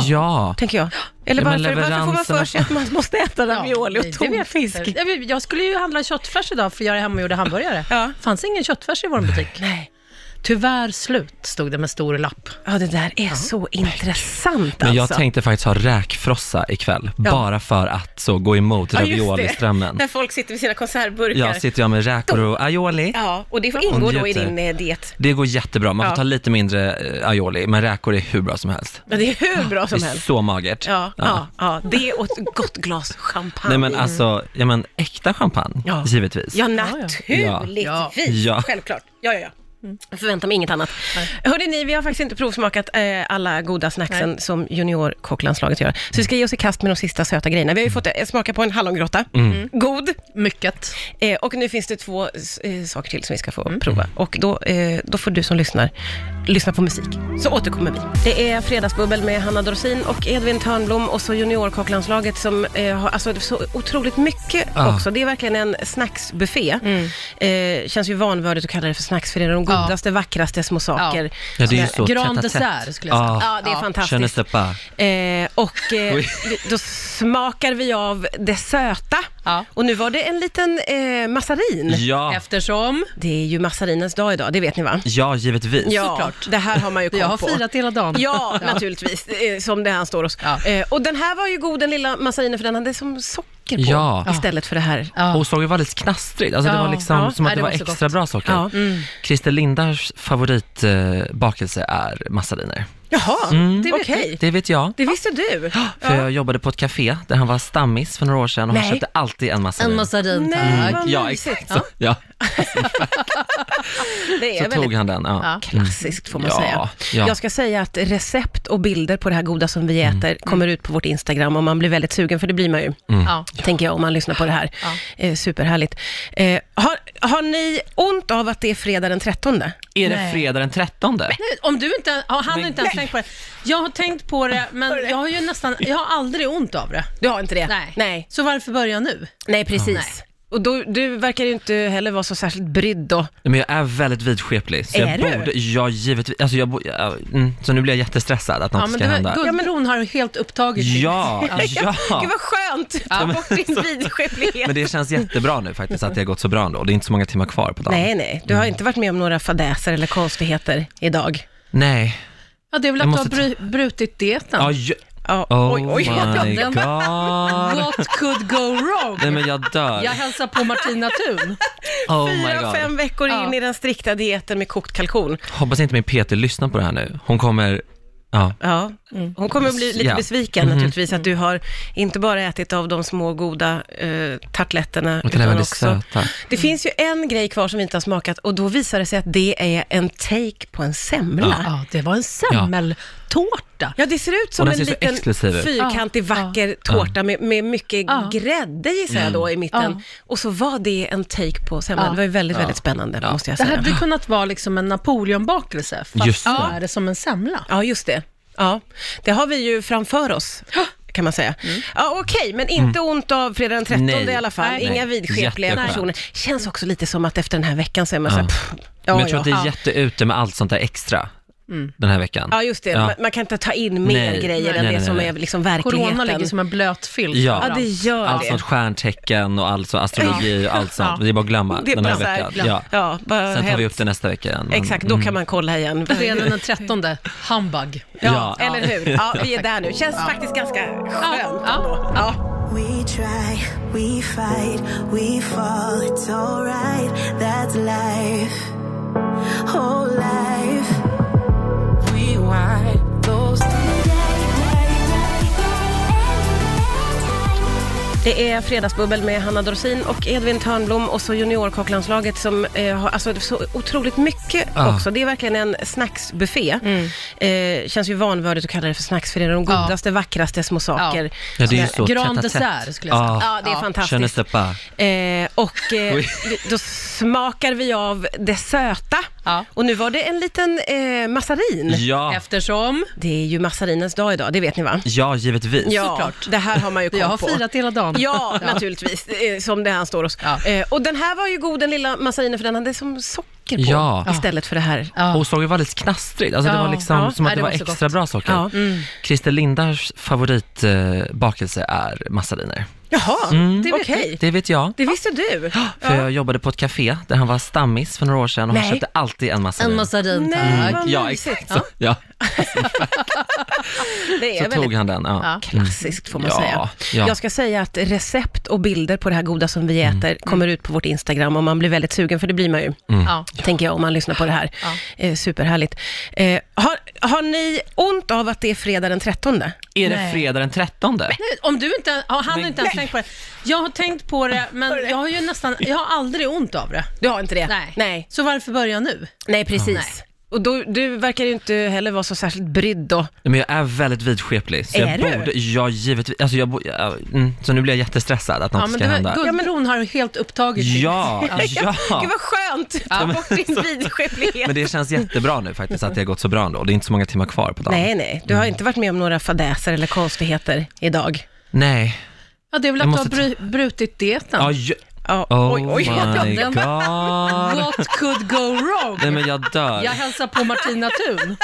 [SPEAKER 3] Ja.
[SPEAKER 1] tänker jag. Eller
[SPEAKER 3] Ja, men
[SPEAKER 1] varför, varför får man
[SPEAKER 3] leveranserna-
[SPEAKER 1] för sig att man måste äta ravioli och
[SPEAKER 4] det
[SPEAKER 1] tom
[SPEAKER 4] vet jag inte.
[SPEAKER 1] fisk?
[SPEAKER 4] Jag vet- Jag skulle ju handla köttfärs idag för jag är hemma och gjorde hamburgare.
[SPEAKER 1] Ja.
[SPEAKER 4] fanns ingen köttfärs i vår butik.
[SPEAKER 1] Nej,
[SPEAKER 4] Tyvärr slut, stod det med stor lapp.
[SPEAKER 1] ja det där är så intressant
[SPEAKER 3] Men jag
[SPEAKER 1] alltså.
[SPEAKER 3] tänkte faktiskt ha räkfrossa ikväll, bara för att så gå emot
[SPEAKER 1] Ja, just det.
[SPEAKER 3] ravioliströmmen.
[SPEAKER 1] När folk sitter vid sina konservburkar.
[SPEAKER 3] Ja, sitter jag med räkor och aioli.
[SPEAKER 1] Ja, och det ingår då i
[SPEAKER 3] njuter.
[SPEAKER 1] din eh, diet.
[SPEAKER 3] Det går jättebra, man får
[SPEAKER 1] Ja.
[SPEAKER 3] ta lite mindre eh, aioli, men räkor är hur bra som helst.
[SPEAKER 1] Ja, det är hur bra som
[SPEAKER 3] det är
[SPEAKER 1] helst.
[SPEAKER 3] så magert.
[SPEAKER 1] Ja, ja. ja, det och ett gott glas champagne.
[SPEAKER 3] Nej men alltså, ja men äkta champagne,
[SPEAKER 1] Ja.
[SPEAKER 3] givetvis.
[SPEAKER 1] Ja,
[SPEAKER 4] ja.
[SPEAKER 1] naturligtvis.
[SPEAKER 3] Ja.
[SPEAKER 4] Ja.
[SPEAKER 1] Självklart. Ja, ja, ja. Jag förväntar mig inget annat. Hörde ni, vi har faktiskt inte provsmakat eh, alla goda snacksen som juniorkocklandslaget gör. Så vi ska ge oss i kast med de sista söta grejerna. Vi har ju fått eh, smaka på en hallongrotta, god,
[SPEAKER 4] Mycket.
[SPEAKER 1] eh, och nu finns det två eh, saker till som vi ska få prova. Och då, eh, då får du som lyssnar lyssna på musik, så återkommer vi. Det är Fredagsbubbel med Hanna Dorsin och Edvin Törnblom och så juniorkocklandslaget som eh, har alltså, så otroligt mycket
[SPEAKER 3] Ja.
[SPEAKER 1] också. Det är verkligen en snacksbuffé. Eh, känns ju vanvördigt att kalla det för snacks, för det är de
[SPEAKER 4] Ja.
[SPEAKER 1] godaste, vackraste små saker.
[SPEAKER 3] Ja, det är ju så
[SPEAKER 4] Grand
[SPEAKER 3] tätt à tätt.
[SPEAKER 4] dessert, skulle jag säga.
[SPEAKER 1] Ja, det är
[SPEAKER 3] Je ne
[SPEAKER 1] fantastiskt.
[SPEAKER 3] sais pas.
[SPEAKER 1] Eh, och [LAUGHS] eh,
[SPEAKER 3] Oj.
[SPEAKER 1] vi- då smakar vi av det söta.
[SPEAKER 4] Ja.
[SPEAKER 1] Och nu var det en liten eh, massarin.
[SPEAKER 3] Ja,
[SPEAKER 4] Eftersom
[SPEAKER 1] Det är ju massarinens dag idag, det vet ni va?
[SPEAKER 3] ja givetvis.
[SPEAKER 4] såklart.
[SPEAKER 1] det här har man ju koll
[SPEAKER 4] [LAUGHS] jag har
[SPEAKER 1] på.
[SPEAKER 4] firat hela dagen.
[SPEAKER 1] Ja, naturligtvis, eh, som det här står oss.
[SPEAKER 4] Ja.
[SPEAKER 1] Eh, och den här var ju god den lilla massarinen, för den hade som socker på
[SPEAKER 3] Ja.
[SPEAKER 1] istället för det här.
[SPEAKER 4] Ja.
[SPEAKER 3] Och sockret var lite knastrigt, alltså det
[SPEAKER 4] Ja.
[SPEAKER 3] var liksom
[SPEAKER 1] Ja.
[SPEAKER 3] som att
[SPEAKER 4] Nej,
[SPEAKER 3] det
[SPEAKER 4] det
[SPEAKER 3] var
[SPEAKER 4] var så
[SPEAKER 3] extra
[SPEAKER 4] gott.
[SPEAKER 3] bra socker.
[SPEAKER 1] Ja.
[SPEAKER 3] Christer Lindars favoritbakelse är massariner.
[SPEAKER 1] Jaha, det vet
[SPEAKER 4] okej.
[SPEAKER 1] jag.
[SPEAKER 3] Det vet jag.
[SPEAKER 1] Det visste du.
[SPEAKER 3] För jag jobbade på ett café där han var stammis för några år sedan och
[SPEAKER 1] Nej.
[SPEAKER 3] han köpte alltid en massarin.
[SPEAKER 4] En massarin,
[SPEAKER 1] Nej,
[SPEAKER 4] tack.
[SPEAKER 1] vad
[SPEAKER 3] Ja,
[SPEAKER 1] mysigt.
[SPEAKER 3] exakt. Så, ja.
[SPEAKER 1] Det
[SPEAKER 3] så
[SPEAKER 1] är väldigt
[SPEAKER 3] tog han den. Ja. Mm.
[SPEAKER 1] klassiskt får man
[SPEAKER 3] Ja,
[SPEAKER 1] säga.
[SPEAKER 3] ja.
[SPEAKER 1] Jag ska säga att recept och bilder på det här goda som vi äter kommer ut på vårt Instagram och man blir väldigt sugen, för det blir man ju,
[SPEAKER 4] Ja.
[SPEAKER 1] tänker jag, om man lyssnar på det här. Eh, superhärligt. Eh, har, har ni ont av att det är fredag den 13?
[SPEAKER 3] Är det
[SPEAKER 4] Nej.
[SPEAKER 3] fredag den 13?
[SPEAKER 4] Om du inte, ja, han har inte ens tänkt på det. Jag har tänkt på det, men jag har ju nästan, jag har aldrig ont av det.
[SPEAKER 1] Du har inte det?
[SPEAKER 4] Nej.
[SPEAKER 1] Nej,
[SPEAKER 4] Så varför börja nu?
[SPEAKER 1] Nej precis. Och då, du verkar ju inte heller vara så särskilt brydd då.
[SPEAKER 3] Men jag är väldigt vidskeplig. Så
[SPEAKER 7] Är
[SPEAKER 3] jag
[SPEAKER 7] du?
[SPEAKER 3] borde, ja givetvis. Alltså jag, bo- ja, mm, så nu blir jag jättestressad att något
[SPEAKER 4] Ja, men
[SPEAKER 3] ska
[SPEAKER 4] det
[SPEAKER 3] hända.
[SPEAKER 4] var, Guldbron har helt upptagit dig.
[SPEAKER 3] Ja, ja.
[SPEAKER 1] Gud vad skönt, ta bort
[SPEAKER 3] [LAUGHS]
[SPEAKER 1] din vidskeplighet.
[SPEAKER 3] Men det känns jättebra nu faktiskt att det har gått så bra ändå. Det är inte så många timmar kvar på dagen.
[SPEAKER 1] [LAUGHS] Nej, nej, du
[SPEAKER 3] Mm.
[SPEAKER 1] har inte varit med om några fadäser eller konstigheter idag.
[SPEAKER 3] Nej.
[SPEAKER 4] Ja, det är väl
[SPEAKER 3] Jag
[SPEAKER 4] att du har
[SPEAKER 3] måste
[SPEAKER 4] bru- brutit dieten.
[SPEAKER 3] Ja, ju-
[SPEAKER 1] Ja,
[SPEAKER 3] oh
[SPEAKER 1] oj, oj.
[SPEAKER 3] my
[SPEAKER 4] Den-
[SPEAKER 3] god.
[SPEAKER 4] What could go
[SPEAKER 3] [LAUGHS]
[SPEAKER 4] wrong?
[SPEAKER 3] Nej men jag dör.
[SPEAKER 4] Jag hälsar på Martina Thun.
[SPEAKER 3] Oh my
[SPEAKER 1] Fyra,
[SPEAKER 3] god.
[SPEAKER 1] fem veckor in
[SPEAKER 4] Ja.
[SPEAKER 1] i den strikta dieten med kokt kalkon.
[SPEAKER 3] Hoppas inte min Peter lyssnar på det här nu. Hon kommer, ja.
[SPEAKER 1] Ja, hon kommer att bli lite
[SPEAKER 3] Ja. Mhm.
[SPEAKER 1] besviken naturligtvis att du har inte bara ätit av de små goda eh, tartletterna.
[SPEAKER 3] Utan även det söta. Mm.
[SPEAKER 1] Det finns ju en grej kvar som vi inte har smakat och då visar det sig att det är en take på en semla. Ja.
[SPEAKER 4] Ja, det var en semmeltårta.
[SPEAKER 1] det ser ut
[SPEAKER 3] Och
[SPEAKER 1] som
[SPEAKER 3] den
[SPEAKER 1] en
[SPEAKER 3] ser så
[SPEAKER 1] liten
[SPEAKER 3] exklusiv ut.
[SPEAKER 1] fyrkantig
[SPEAKER 4] Ja,
[SPEAKER 1] vacker tårta med, med mycket
[SPEAKER 4] Ja.
[SPEAKER 1] grädde gissar jag
[SPEAKER 3] Mm.
[SPEAKER 1] då i mitten.
[SPEAKER 4] Ja.
[SPEAKER 1] Och så var det en take på semlan.
[SPEAKER 4] Ja.
[SPEAKER 1] Det var ju väldigt, väldigt spännande måste jag
[SPEAKER 4] Det
[SPEAKER 1] säga.
[SPEAKER 4] hade kunnat vara liksom en Napoleonbakelse, fast
[SPEAKER 3] Just det.
[SPEAKER 4] då är det som en semla.
[SPEAKER 1] Ja, just det. Ja, det har vi ju framför
[SPEAKER 4] [GASPS]
[SPEAKER 1] oss. kan man säga. Ja, Okej, men inte ont av fredag den 13
[SPEAKER 3] Mm. Nej.
[SPEAKER 1] i alla fall.
[SPEAKER 3] Nej.
[SPEAKER 1] Inga
[SPEAKER 3] Nej.
[SPEAKER 1] vidskepliga
[SPEAKER 3] Jätteskönt.
[SPEAKER 1] personer. Känns också lite som att efter den här veckan så är man så här,
[SPEAKER 3] Ja.
[SPEAKER 1] pff,
[SPEAKER 3] Men
[SPEAKER 1] ja,
[SPEAKER 3] jag tror
[SPEAKER 1] ja. Mm.
[SPEAKER 3] att det är jätteute med allt sånt där extra den här veckan.
[SPEAKER 1] ja, just det.
[SPEAKER 3] Ja.
[SPEAKER 1] Man, man kan inte ta in mer
[SPEAKER 3] Nej.
[SPEAKER 1] grejer
[SPEAKER 3] Nej,
[SPEAKER 1] än
[SPEAKER 3] nej,
[SPEAKER 1] det
[SPEAKER 3] nej,
[SPEAKER 1] som
[SPEAKER 3] nej.
[SPEAKER 1] är liksom
[SPEAKER 4] Corona
[SPEAKER 1] verkligheten.
[SPEAKER 4] ligger som en blöt filt.
[SPEAKER 3] Ja.
[SPEAKER 1] Ja, det gör
[SPEAKER 3] Allt
[SPEAKER 1] det.
[SPEAKER 3] sånt stjärntecken och allt så astrologi och allt sånt.
[SPEAKER 4] Ja.
[SPEAKER 3] Det är bara att glömma
[SPEAKER 1] det är
[SPEAKER 3] den
[SPEAKER 1] bara
[SPEAKER 3] här
[SPEAKER 1] så här,
[SPEAKER 3] veckan. Ja.
[SPEAKER 1] ja, bara
[SPEAKER 3] Sen tar vi
[SPEAKER 1] helt-
[SPEAKER 3] upp det nästa vecka igen. Men-
[SPEAKER 1] Exakt, då kan man kolla igen.
[SPEAKER 4] Fredagen den 13, humbug.
[SPEAKER 1] Ja,
[SPEAKER 3] Ja.
[SPEAKER 1] eller hur? Ja, vi är där nu. Känns faktiskt ganska skönt
[SPEAKER 4] Ja.
[SPEAKER 1] ändå. Ja.
[SPEAKER 8] We try, we fight, we fall. It's alright. That's life. Whole life. Rewind those
[SPEAKER 1] Det är Fredagsbubbel med Hanna Dorsin och Edvin Törnblom och så juniorkocklandslaget som eh, har alltså, så otroligt mycket
[SPEAKER 3] Ja.
[SPEAKER 1] också. Det är verkligen en snacksbuffé. Eh, känns ju vanvördigt att kalla det för snacks för det är de
[SPEAKER 4] Ja.
[SPEAKER 1] godaste, vackraste små saker.
[SPEAKER 3] Ja, det är ju så
[SPEAKER 4] Grand
[SPEAKER 3] tätt à tätt.
[SPEAKER 4] dessert, skulle jag säga.
[SPEAKER 1] Ja, det är
[SPEAKER 3] Je ne
[SPEAKER 1] fantastiskt.
[SPEAKER 3] sais pas.
[SPEAKER 1] Eh, och eh,
[SPEAKER 3] Oj.
[SPEAKER 1] vi- då smakar vi av det söta.
[SPEAKER 4] Ja.
[SPEAKER 1] Och nu var det en liten eh, massarin.
[SPEAKER 3] Ja,
[SPEAKER 4] Eftersom
[SPEAKER 1] Det är ju massarinens dag idag, det vet ni va?
[SPEAKER 3] ja givetvis.
[SPEAKER 4] Såklart.
[SPEAKER 1] det här har man ju koll
[SPEAKER 4] [LAUGHS] jag har
[SPEAKER 1] på.
[SPEAKER 4] firat hela dagen.
[SPEAKER 1] Ja, naturligtvis. eh, Som det han står hos.
[SPEAKER 4] Ja.
[SPEAKER 1] Eh, och den här var ju god, den lilla massarinen, för den hade som socker på
[SPEAKER 3] Ja.
[SPEAKER 1] istället för det här.
[SPEAKER 4] Ja.
[SPEAKER 3] Och såg var lite knastrigt, alltså det
[SPEAKER 4] Ja.
[SPEAKER 3] var liksom
[SPEAKER 1] Ja.
[SPEAKER 3] som att
[SPEAKER 4] Nej,
[SPEAKER 3] det var
[SPEAKER 4] det var så
[SPEAKER 3] extra
[SPEAKER 4] gott.
[SPEAKER 3] bra socker.
[SPEAKER 1] Ja.
[SPEAKER 3] Christer Lindars favoritbakelse är massariner.
[SPEAKER 1] Jaha, det
[SPEAKER 4] vet
[SPEAKER 1] Mm. okej.
[SPEAKER 3] Det vet jag,
[SPEAKER 1] Det visste du.
[SPEAKER 3] för jag jobbade på ett café där han var stammis för några år sedan och
[SPEAKER 1] Nej.
[SPEAKER 3] han köpte alltid en massarin.
[SPEAKER 4] En massarin,
[SPEAKER 1] Nej,
[SPEAKER 4] tack.
[SPEAKER 1] vad
[SPEAKER 3] ja,
[SPEAKER 1] mysigt.
[SPEAKER 3] exakt. Så, ja.
[SPEAKER 1] Det
[SPEAKER 3] så
[SPEAKER 1] är
[SPEAKER 3] tog
[SPEAKER 1] väldigt
[SPEAKER 3] han den. Ja.
[SPEAKER 4] Ja.
[SPEAKER 1] klassiskt får man
[SPEAKER 3] Ja,
[SPEAKER 1] säga.
[SPEAKER 3] ja.
[SPEAKER 1] Jag ska säga att recept och bilder på det här goda som vi äter kommer ut på vårt Instagram och man blir väldigt sugen, för det blir man ju.
[SPEAKER 4] Ja.
[SPEAKER 1] Tänker jag om man lyssnar på det här. Eh, superhärligt. Eh, har, har ni ont av att det är fredag den 13?
[SPEAKER 3] Är det
[SPEAKER 4] Nej.
[SPEAKER 3] fredag den 13?
[SPEAKER 4] Om du inte, ja, han har
[SPEAKER 3] Men-
[SPEAKER 4] inte ens tänkt på det. Jag har tänkt på det, men jag har ju nästan, jag har aldrig ont av det.
[SPEAKER 1] Du har inte det? Nej.
[SPEAKER 4] Så varför börja nu?
[SPEAKER 1] Nej, precis. Och då, du verkar ju inte heller vara så särskilt brydd då.
[SPEAKER 3] Nej, Men jag är väldigt vidskeplig. Så
[SPEAKER 1] Är
[SPEAKER 3] jag
[SPEAKER 1] du?
[SPEAKER 3] Borde, ja, givetvis. Alltså jag bo, ja, mm, så nu blir jag jättestressad att något
[SPEAKER 4] Ja, men
[SPEAKER 3] ska
[SPEAKER 4] det
[SPEAKER 3] hända.
[SPEAKER 4] var, Guldbron har helt upptagit dig.
[SPEAKER 3] Ja, ja.
[SPEAKER 1] Gud vad skönt! Ta bort [LAUGHS] din vidskeplighet.
[SPEAKER 3] Men det känns jättebra nu faktiskt att det har gått så bra ändå. Det är inte så många timmar kvar på dagen.
[SPEAKER 1] Nej, nej. Du har inte varit med om några fadäser eller konstigheter idag.
[SPEAKER 3] Nej.
[SPEAKER 4] Ja, det är väl
[SPEAKER 3] Jag
[SPEAKER 4] att du har
[SPEAKER 3] måste
[SPEAKER 4] bru- brutit dieten.
[SPEAKER 3] Ja, ju-
[SPEAKER 1] Ja,
[SPEAKER 3] oh
[SPEAKER 1] oj, oj.
[SPEAKER 3] my
[SPEAKER 4] Den-
[SPEAKER 3] god.
[SPEAKER 4] What could go
[SPEAKER 3] [LAUGHS]
[SPEAKER 4] wrong?
[SPEAKER 3] Nej men jag dör.
[SPEAKER 4] Jag hälsar på Martina Thun.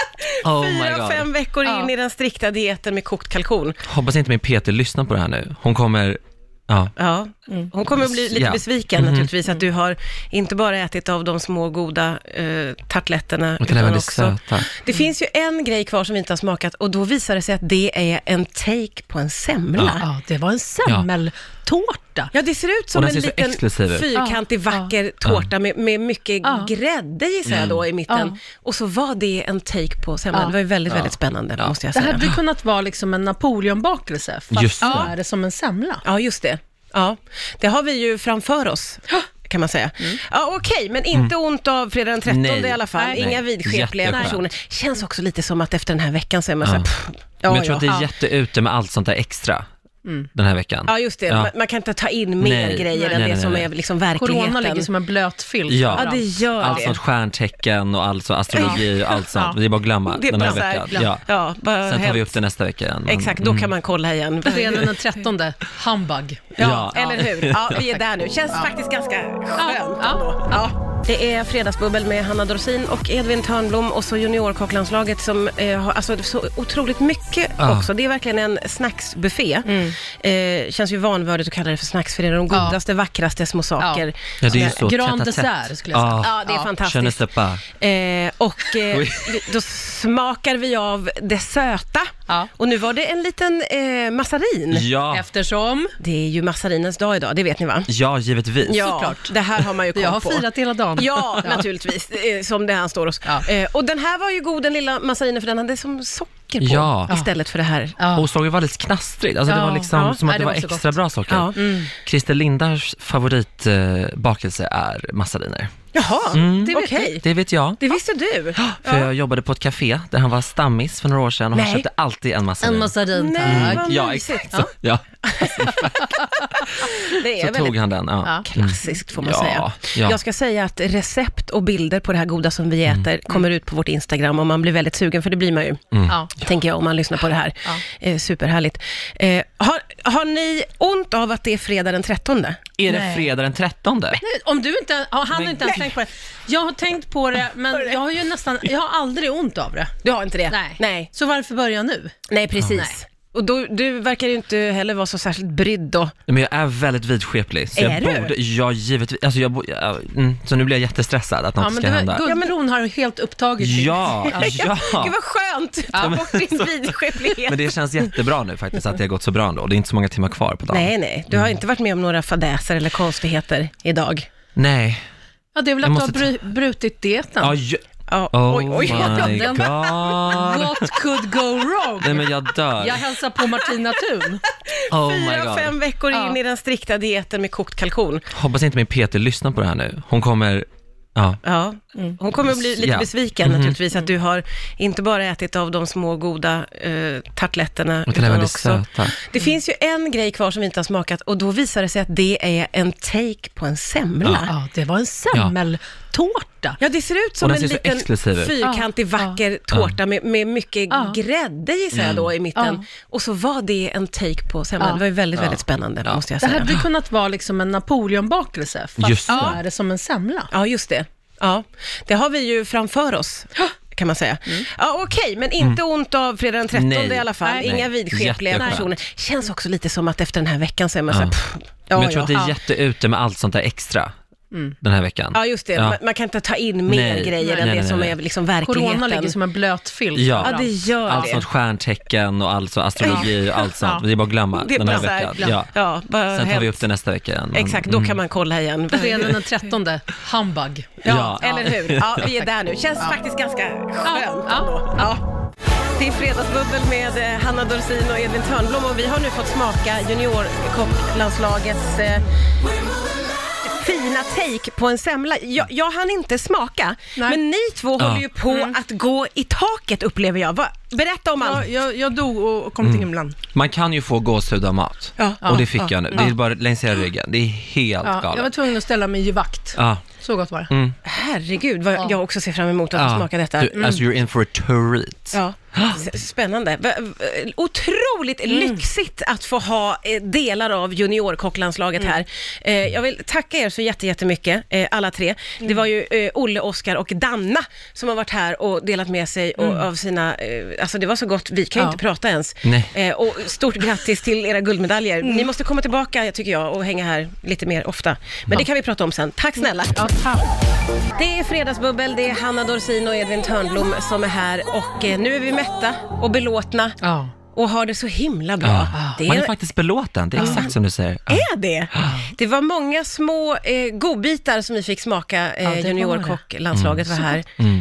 [SPEAKER 3] Oh my
[SPEAKER 1] Fyra,
[SPEAKER 3] god.
[SPEAKER 1] fem veckor in
[SPEAKER 4] Ja.
[SPEAKER 1] i den strikta dieten med kokt kalkon.
[SPEAKER 3] Hoppas inte min Peter lyssnar på det här nu. Hon kommer, ja.
[SPEAKER 1] Ja. Hon kommer att bli lite
[SPEAKER 3] Ja. Mm-hmm.
[SPEAKER 1] besviken naturligtvis, att du har inte bara ätit av de små goda eh, tartletterna.
[SPEAKER 3] Utan även det söta. Mm.
[SPEAKER 1] Det finns ju en grej kvar som vi inte har smakat och då visar det sig att det är en take på en semla.
[SPEAKER 4] Ja, det var en semmeltårta.
[SPEAKER 1] Ja, det ser ut som
[SPEAKER 3] Och den
[SPEAKER 1] en
[SPEAKER 3] ser så
[SPEAKER 1] liten
[SPEAKER 3] exklusiv ut.
[SPEAKER 1] fyrkantig
[SPEAKER 4] Ja,
[SPEAKER 1] vacker tårta med, med mycket
[SPEAKER 4] Ja.
[SPEAKER 1] grädde gissar jag
[SPEAKER 3] Mm.
[SPEAKER 1] då i mitten.
[SPEAKER 4] Ja.
[SPEAKER 1] Och så var det en take på semlan.
[SPEAKER 4] Ja.
[SPEAKER 1] Det var ju väldigt, väldigt spännande måste jag
[SPEAKER 4] Det
[SPEAKER 1] säga.
[SPEAKER 4] hade kunnat vara liksom en Napoleonbakelse, fast
[SPEAKER 3] Just
[SPEAKER 4] Just
[SPEAKER 3] det.
[SPEAKER 4] då är det som en semla.
[SPEAKER 1] Ja, just det. Ja, det har vi ju framför
[SPEAKER 4] [GASPS]
[SPEAKER 1] oss. kan man säga. Ja, Okej, men inte ont av fredag den 13
[SPEAKER 3] Mm. Nej.
[SPEAKER 1] i alla fall.
[SPEAKER 3] Nej.
[SPEAKER 1] Inga
[SPEAKER 3] Nej.
[SPEAKER 1] vidskepliga
[SPEAKER 3] Jätteskönt.
[SPEAKER 1] personer. Känns också lite som att efter den här veckan så är man så
[SPEAKER 3] Ja.
[SPEAKER 1] här, pff, ja,
[SPEAKER 3] Men jag tror att det
[SPEAKER 1] ja.
[SPEAKER 3] är jätteute med allt sånt där extra. den här veckan.
[SPEAKER 1] Ja, just det.
[SPEAKER 3] Ja.
[SPEAKER 1] Man, man kan inte ta in mer
[SPEAKER 3] Nej.
[SPEAKER 1] grejer
[SPEAKER 3] Nej,
[SPEAKER 1] än
[SPEAKER 3] nej,
[SPEAKER 1] det
[SPEAKER 3] nej,
[SPEAKER 1] som
[SPEAKER 3] nej.
[SPEAKER 1] är liksom verkligheten.
[SPEAKER 4] Corona ligger som en blöt filt.
[SPEAKER 3] Ja.
[SPEAKER 1] Ja, det gör
[SPEAKER 3] Allt
[SPEAKER 1] det.
[SPEAKER 3] sånt stjärntecken och allt så, astrologi och allt sånt.
[SPEAKER 4] Ja.
[SPEAKER 3] Det är bara att glömma
[SPEAKER 1] Det är
[SPEAKER 3] den här
[SPEAKER 1] bara så här,
[SPEAKER 3] veckan.
[SPEAKER 1] glöm-
[SPEAKER 3] Ja.
[SPEAKER 1] Ja, bara
[SPEAKER 3] Sen tar vi
[SPEAKER 1] helt-
[SPEAKER 3] upp det nästa vecka igen. Mm. Men-
[SPEAKER 1] Exakt, då kan man kolla igen.
[SPEAKER 4] Fredagen den 13, humbug.
[SPEAKER 1] Ja,
[SPEAKER 3] Ja.
[SPEAKER 1] eller hur? Ja, vi är där nu. Känns faktiskt ganska skönt
[SPEAKER 4] Ja.
[SPEAKER 1] ändå. Ja. Det är Fredagsbubbel med Hanna Dorsin och Edvin Törnblom och så juniorkocklandslaget som eh, har alltså, så otroligt mycket
[SPEAKER 3] Ja.
[SPEAKER 1] också. Det är verkligen en snacksbuffé. Eh, känns ju vanvördigt att kalla det för snacks för det är de
[SPEAKER 4] Ja.
[SPEAKER 1] godaste, vackraste små saker.
[SPEAKER 3] Ja, det är ju så
[SPEAKER 4] Grand
[SPEAKER 3] tätt att tätt.
[SPEAKER 4] dessert, skulle jag säga.
[SPEAKER 1] Ja, det är
[SPEAKER 4] Ja.
[SPEAKER 3] Je ne
[SPEAKER 1] fantastiskt.
[SPEAKER 3] sais pas.
[SPEAKER 1] Eh, och eh,
[SPEAKER 3] Oj.
[SPEAKER 1] vi- då smakar vi av det söta.
[SPEAKER 4] Ja.
[SPEAKER 1] Och nu var det en liten eh, massarin.
[SPEAKER 3] Ja,
[SPEAKER 4] Eftersom
[SPEAKER 1] Det är ju massarinens dag idag, det vet ni va?
[SPEAKER 3] ja, givetvis.
[SPEAKER 4] Såklart.
[SPEAKER 1] det här har man ju koll
[SPEAKER 4] jag har
[SPEAKER 1] på.
[SPEAKER 4] firat hela dagen.
[SPEAKER 1] Ja, naturligtvis, eh, som det här står oss.
[SPEAKER 4] Ja.
[SPEAKER 1] Eh, och den här var ju god, den lilla massarinen, för den hade som socker på
[SPEAKER 3] Ja.
[SPEAKER 1] istället för det här.
[SPEAKER 4] Ja.
[SPEAKER 3] Och såg ju väldigt knastrigt. Alltså det
[SPEAKER 4] Ja.
[SPEAKER 3] var liksom
[SPEAKER 1] Ja.
[SPEAKER 3] som att
[SPEAKER 4] Nej,
[SPEAKER 3] det
[SPEAKER 4] det
[SPEAKER 3] var,
[SPEAKER 4] var så
[SPEAKER 3] extra
[SPEAKER 4] gott.
[SPEAKER 3] bra socker.
[SPEAKER 1] Ja.
[SPEAKER 3] Christer Lindars favoritbakelse är massariner.
[SPEAKER 1] Jaha, det vet
[SPEAKER 3] Okej.
[SPEAKER 1] du.
[SPEAKER 3] Det vet jag.
[SPEAKER 1] Mm. Det visste du.
[SPEAKER 3] För jag jobbade på ett café där han var stammis för några år sedan och
[SPEAKER 1] Nej.
[SPEAKER 3] han köpte alltid en massarin.
[SPEAKER 4] En massarin,
[SPEAKER 1] Nej,
[SPEAKER 4] tack.
[SPEAKER 1] vad
[SPEAKER 3] ja,
[SPEAKER 1] mysigt.
[SPEAKER 3] exakt. Så, ja.
[SPEAKER 1] Det är
[SPEAKER 3] så tog
[SPEAKER 1] väldigt
[SPEAKER 3] han den. Ja. Mm.
[SPEAKER 4] Ja.
[SPEAKER 1] klassiskt får man
[SPEAKER 3] Ja,
[SPEAKER 1] säga.
[SPEAKER 3] ja.
[SPEAKER 1] Jag ska säga att recept och bilder på det här goda som vi äter kommer ut på vårt Instagram och man blir väldigt sugen, för det blir man ju.
[SPEAKER 4] Mm. Ja.
[SPEAKER 1] tänker jag om man lyssnar på det här. Eh, superhärligt. Eh, har, har ni ont av att det är fredag den 13?
[SPEAKER 3] Är det
[SPEAKER 4] Nej.
[SPEAKER 3] fredag den 13?
[SPEAKER 4] Om du inte, ja, han har
[SPEAKER 3] Men-
[SPEAKER 4] inte ens tänkt på det. Jag har tänkt på det, men jag har ju nästan, jag har aldrig ont av det.
[SPEAKER 1] Du har inte det? Nej,
[SPEAKER 4] Så varför börja nu?
[SPEAKER 1] Nej precis.
[SPEAKER 4] Nej.
[SPEAKER 1] Och då, du verkar ju inte heller vara så särskilt brydd då.
[SPEAKER 3] Men jag är väldigt vidskeplig. Så
[SPEAKER 1] Är
[SPEAKER 3] jag
[SPEAKER 1] du?
[SPEAKER 3] borde, ja givetvis. Alltså jag, bo- ja, mm, så nu blir jag jättestressad att något
[SPEAKER 4] Ja, men
[SPEAKER 3] ska
[SPEAKER 4] det
[SPEAKER 3] hända.
[SPEAKER 4] var, Guldbron har helt upptagit sig.
[SPEAKER 3] Ja, ja.
[SPEAKER 1] Gud vad skönt! Ta bort [LAUGHS] din vidskeplighet.
[SPEAKER 3] Men det känns jättebra nu faktiskt att det har gått så bra ändå. Det Mm. är inte så många timmar kvar på dagen.
[SPEAKER 1] Nej, nej. Du har inte varit med om några fadäser eller konstigheter idag.
[SPEAKER 3] Nej.
[SPEAKER 4] Ja, det är väl
[SPEAKER 3] Jag
[SPEAKER 4] att du har
[SPEAKER 3] måste
[SPEAKER 4] bru- brutit dieten.
[SPEAKER 3] Ja, ju-
[SPEAKER 1] Ja,
[SPEAKER 3] oh
[SPEAKER 1] oj, oj.
[SPEAKER 3] my
[SPEAKER 4] Den-
[SPEAKER 3] god.
[SPEAKER 4] What could go wrong?
[SPEAKER 3] Nej men jag dör.
[SPEAKER 4] Jag hälsar på Martina Thun.
[SPEAKER 3] Oh my
[SPEAKER 1] Fyra,
[SPEAKER 3] god.
[SPEAKER 1] fem veckor in
[SPEAKER 4] Ja.
[SPEAKER 1] i den strikta dieten med kokt kalkon.
[SPEAKER 3] Hoppas inte min PT lyssnar på det här nu. Hon kommer, ja.
[SPEAKER 1] Ja, hon kommer att bli lite
[SPEAKER 3] Ja. Mm-hmm.
[SPEAKER 1] besviken naturligtvis att du har inte bara ätit av de små goda eh, tartletterna.
[SPEAKER 3] Utan även det söta.
[SPEAKER 1] Det finns ju en grej kvar som vi inte har smakat och då visar det sig att det är en take på en semla. Ja.
[SPEAKER 4] Ja, det var en semmeltårta.
[SPEAKER 1] det ser ut
[SPEAKER 3] Och
[SPEAKER 1] som
[SPEAKER 3] den
[SPEAKER 1] en
[SPEAKER 3] ser så
[SPEAKER 1] liten
[SPEAKER 3] exklusiv ut.
[SPEAKER 1] fyrkantig,
[SPEAKER 4] Ja.
[SPEAKER 1] vacker tårta med, med mycket
[SPEAKER 4] Ja.
[SPEAKER 1] grädde gissar jag
[SPEAKER 3] Mm.
[SPEAKER 1] då i mitten.
[SPEAKER 4] Ja.
[SPEAKER 1] Och så var det en take på semlan.
[SPEAKER 4] Ja.
[SPEAKER 1] Det var ju väldigt, väldigt spännande måste jag
[SPEAKER 4] Det
[SPEAKER 1] säga.
[SPEAKER 4] hade kunnat vara liksom en Napoleonbakelse, fast
[SPEAKER 3] Just
[SPEAKER 4] så
[SPEAKER 3] det.
[SPEAKER 4] är det som en semla.
[SPEAKER 1] Ja, just det. Ja, det har vi ju framför
[SPEAKER 4] [GASPS]
[SPEAKER 1] oss. kan man säga.
[SPEAKER 4] Mm.
[SPEAKER 1] Ja, Okej, men inte ont av fredag den 13
[SPEAKER 3] Mm. Nej.
[SPEAKER 1] i alla fall.
[SPEAKER 3] Nej.
[SPEAKER 1] Inga vidskepliga
[SPEAKER 3] Jätteskönt.
[SPEAKER 1] personer. Känns också lite som att efter den här veckan så är man så här, pff, ja,
[SPEAKER 3] Men jag tror
[SPEAKER 1] ja. Mm.
[SPEAKER 3] att det är jätteute med allt sånt där extra den här veckan.
[SPEAKER 1] ja, just det.
[SPEAKER 3] Ja.
[SPEAKER 1] Man, man kan inte ta in mer
[SPEAKER 3] Nej.
[SPEAKER 1] grejer
[SPEAKER 3] Nej,
[SPEAKER 1] än
[SPEAKER 3] nej,
[SPEAKER 1] det
[SPEAKER 3] nej,
[SPEAKER 1] som
[SPEAKER 3] nej.
[SPEAKER 1] är liksom verkligheten.
[SPEAKER 4] Corona ligger som en blöt filt.
[SPEAKER 3] Ja.
[SPEAKER 1] Ja, det gör
[SPEAKER 3] Allt
[SPEAKER 1] det.
[SPEAKER 3] sånt stjärntecken och allt så astrologi och allt sånt.
[SPEAKER 4] Ja.
[SPEAKER 3] Det är bara att glömma
[SPEAKER 1] det är
[SPEAKER 3] den
[SPEAKER 1] bara
[SPEAKER 3] här
[SPEAKER 1] så här,
[SPEAKER 3] veckan.
[SPEAKER 1] ja.
[SPEAKER 3] Ja.
[SPEAKER 1] Ja, bara
[SPEAKER 3] Sen tar vi
[SPEAKER 1] helt-
[SPEAKER 3] upp det nästa vecka igen. Men- mm.
[SPEAKER 1] Exakt, då kan man kolla igen.
[SPEAKER 4] Fredagen den 13, humbug.
[SPEAKER 1] Ja, [LAUGHS]
[SPEAKER 3] Ja.
[SPEAKER 1] eller hur? Ja, vi är där nu. Känns faktiskt ganska skönt
[SPEAKER 4] Ja.
[SPEAKER 1] ändå. Ja. Det är Fredagsbubbel med eh, Hanna Dorsin och Edvin Törnblom och vi har nu fått smaka juniorkocklandslagets eh, fina take på en semla. Jag, jag hann inte smaka,
[SPEAKER 4] Nej.
[SPEAKER 1] men ni två
[SPEAKER 3] Ja.
[SPEAKER 1] håller ju på att gå i taket upplever jag. Va? Berätta om allt.
[SPEAKER 7] Jag, jag, jag dog och kom
[SPEAKER 3] Mm.
[SPEAKER 7] till himlen.
[SPEAKER 3] Man kan ju få gåshud av mat.
[SPEAKER 1] Ja.
[SPEAKER 3] och det fick jag nu. Det är bara längs hela ryggen. Det är helt
[SPEAKER 4] Ja, jag var
[SPEAKER 3] galet.
[SPEAKER 4] tvungen att ställa mig i vakt.
[SPEAKER 3] Ja. Mm.
[SPEAKER 4] Så gott var det.
[SPEAKER 1] Herregud, vad jag också ser fram emot att få
[SPEAKER 3] Ja.
[SPEAKER 1] smaka detta. Mm.
[SPEAKER 3] Du, Alltså you're in for a treat.
[SPEAKER 1] Ja, s- Ah, spännande. V- v- Otroligt lyxigt att få ha eh, delar av juniorkocklandslaget här. Eh, Jag vill tacka er så jätte- jättemycket, eh, alla tre. Det var ju eh, Olle, Oskar och Danna som har varit här och delat med sig och- av sina, eh, alltså det var så gott, vi kan ju
[SPEAKER 4] Ja.
[SPEAKER 1] inte prata ens.
[SPEAKER 3] Nej.
[SPEAKER 1] Eh, Och stort grattis till era guldmedaljer. Ni måste komma tillbaka, tycker jag, och hänga här lite mer ofta. Men det kan vi prata om sen. Tack snälla. Det är Fredagsbubbel, det är Hanna Dorsin och Edvin Törnblom som är här och eh, nu är vi mätta och belåtna
[SPEAKER 4] Ja.
[SPEAKER 1] och har det så himla bra. Det
[SPEAKER 3] Man är
[SPEAKER 1] är, Ah.
[SPEAKER 3] faktiskt belåten. Det är exakt som du säger. Ja.
[SPEAKER 1] är det. Det var många små eh, godbitar som vi fick smaka. Eh,
[SPEAKER 4] det Mm. var
[SPEAKER 1] Juniorkocklandslaget var här.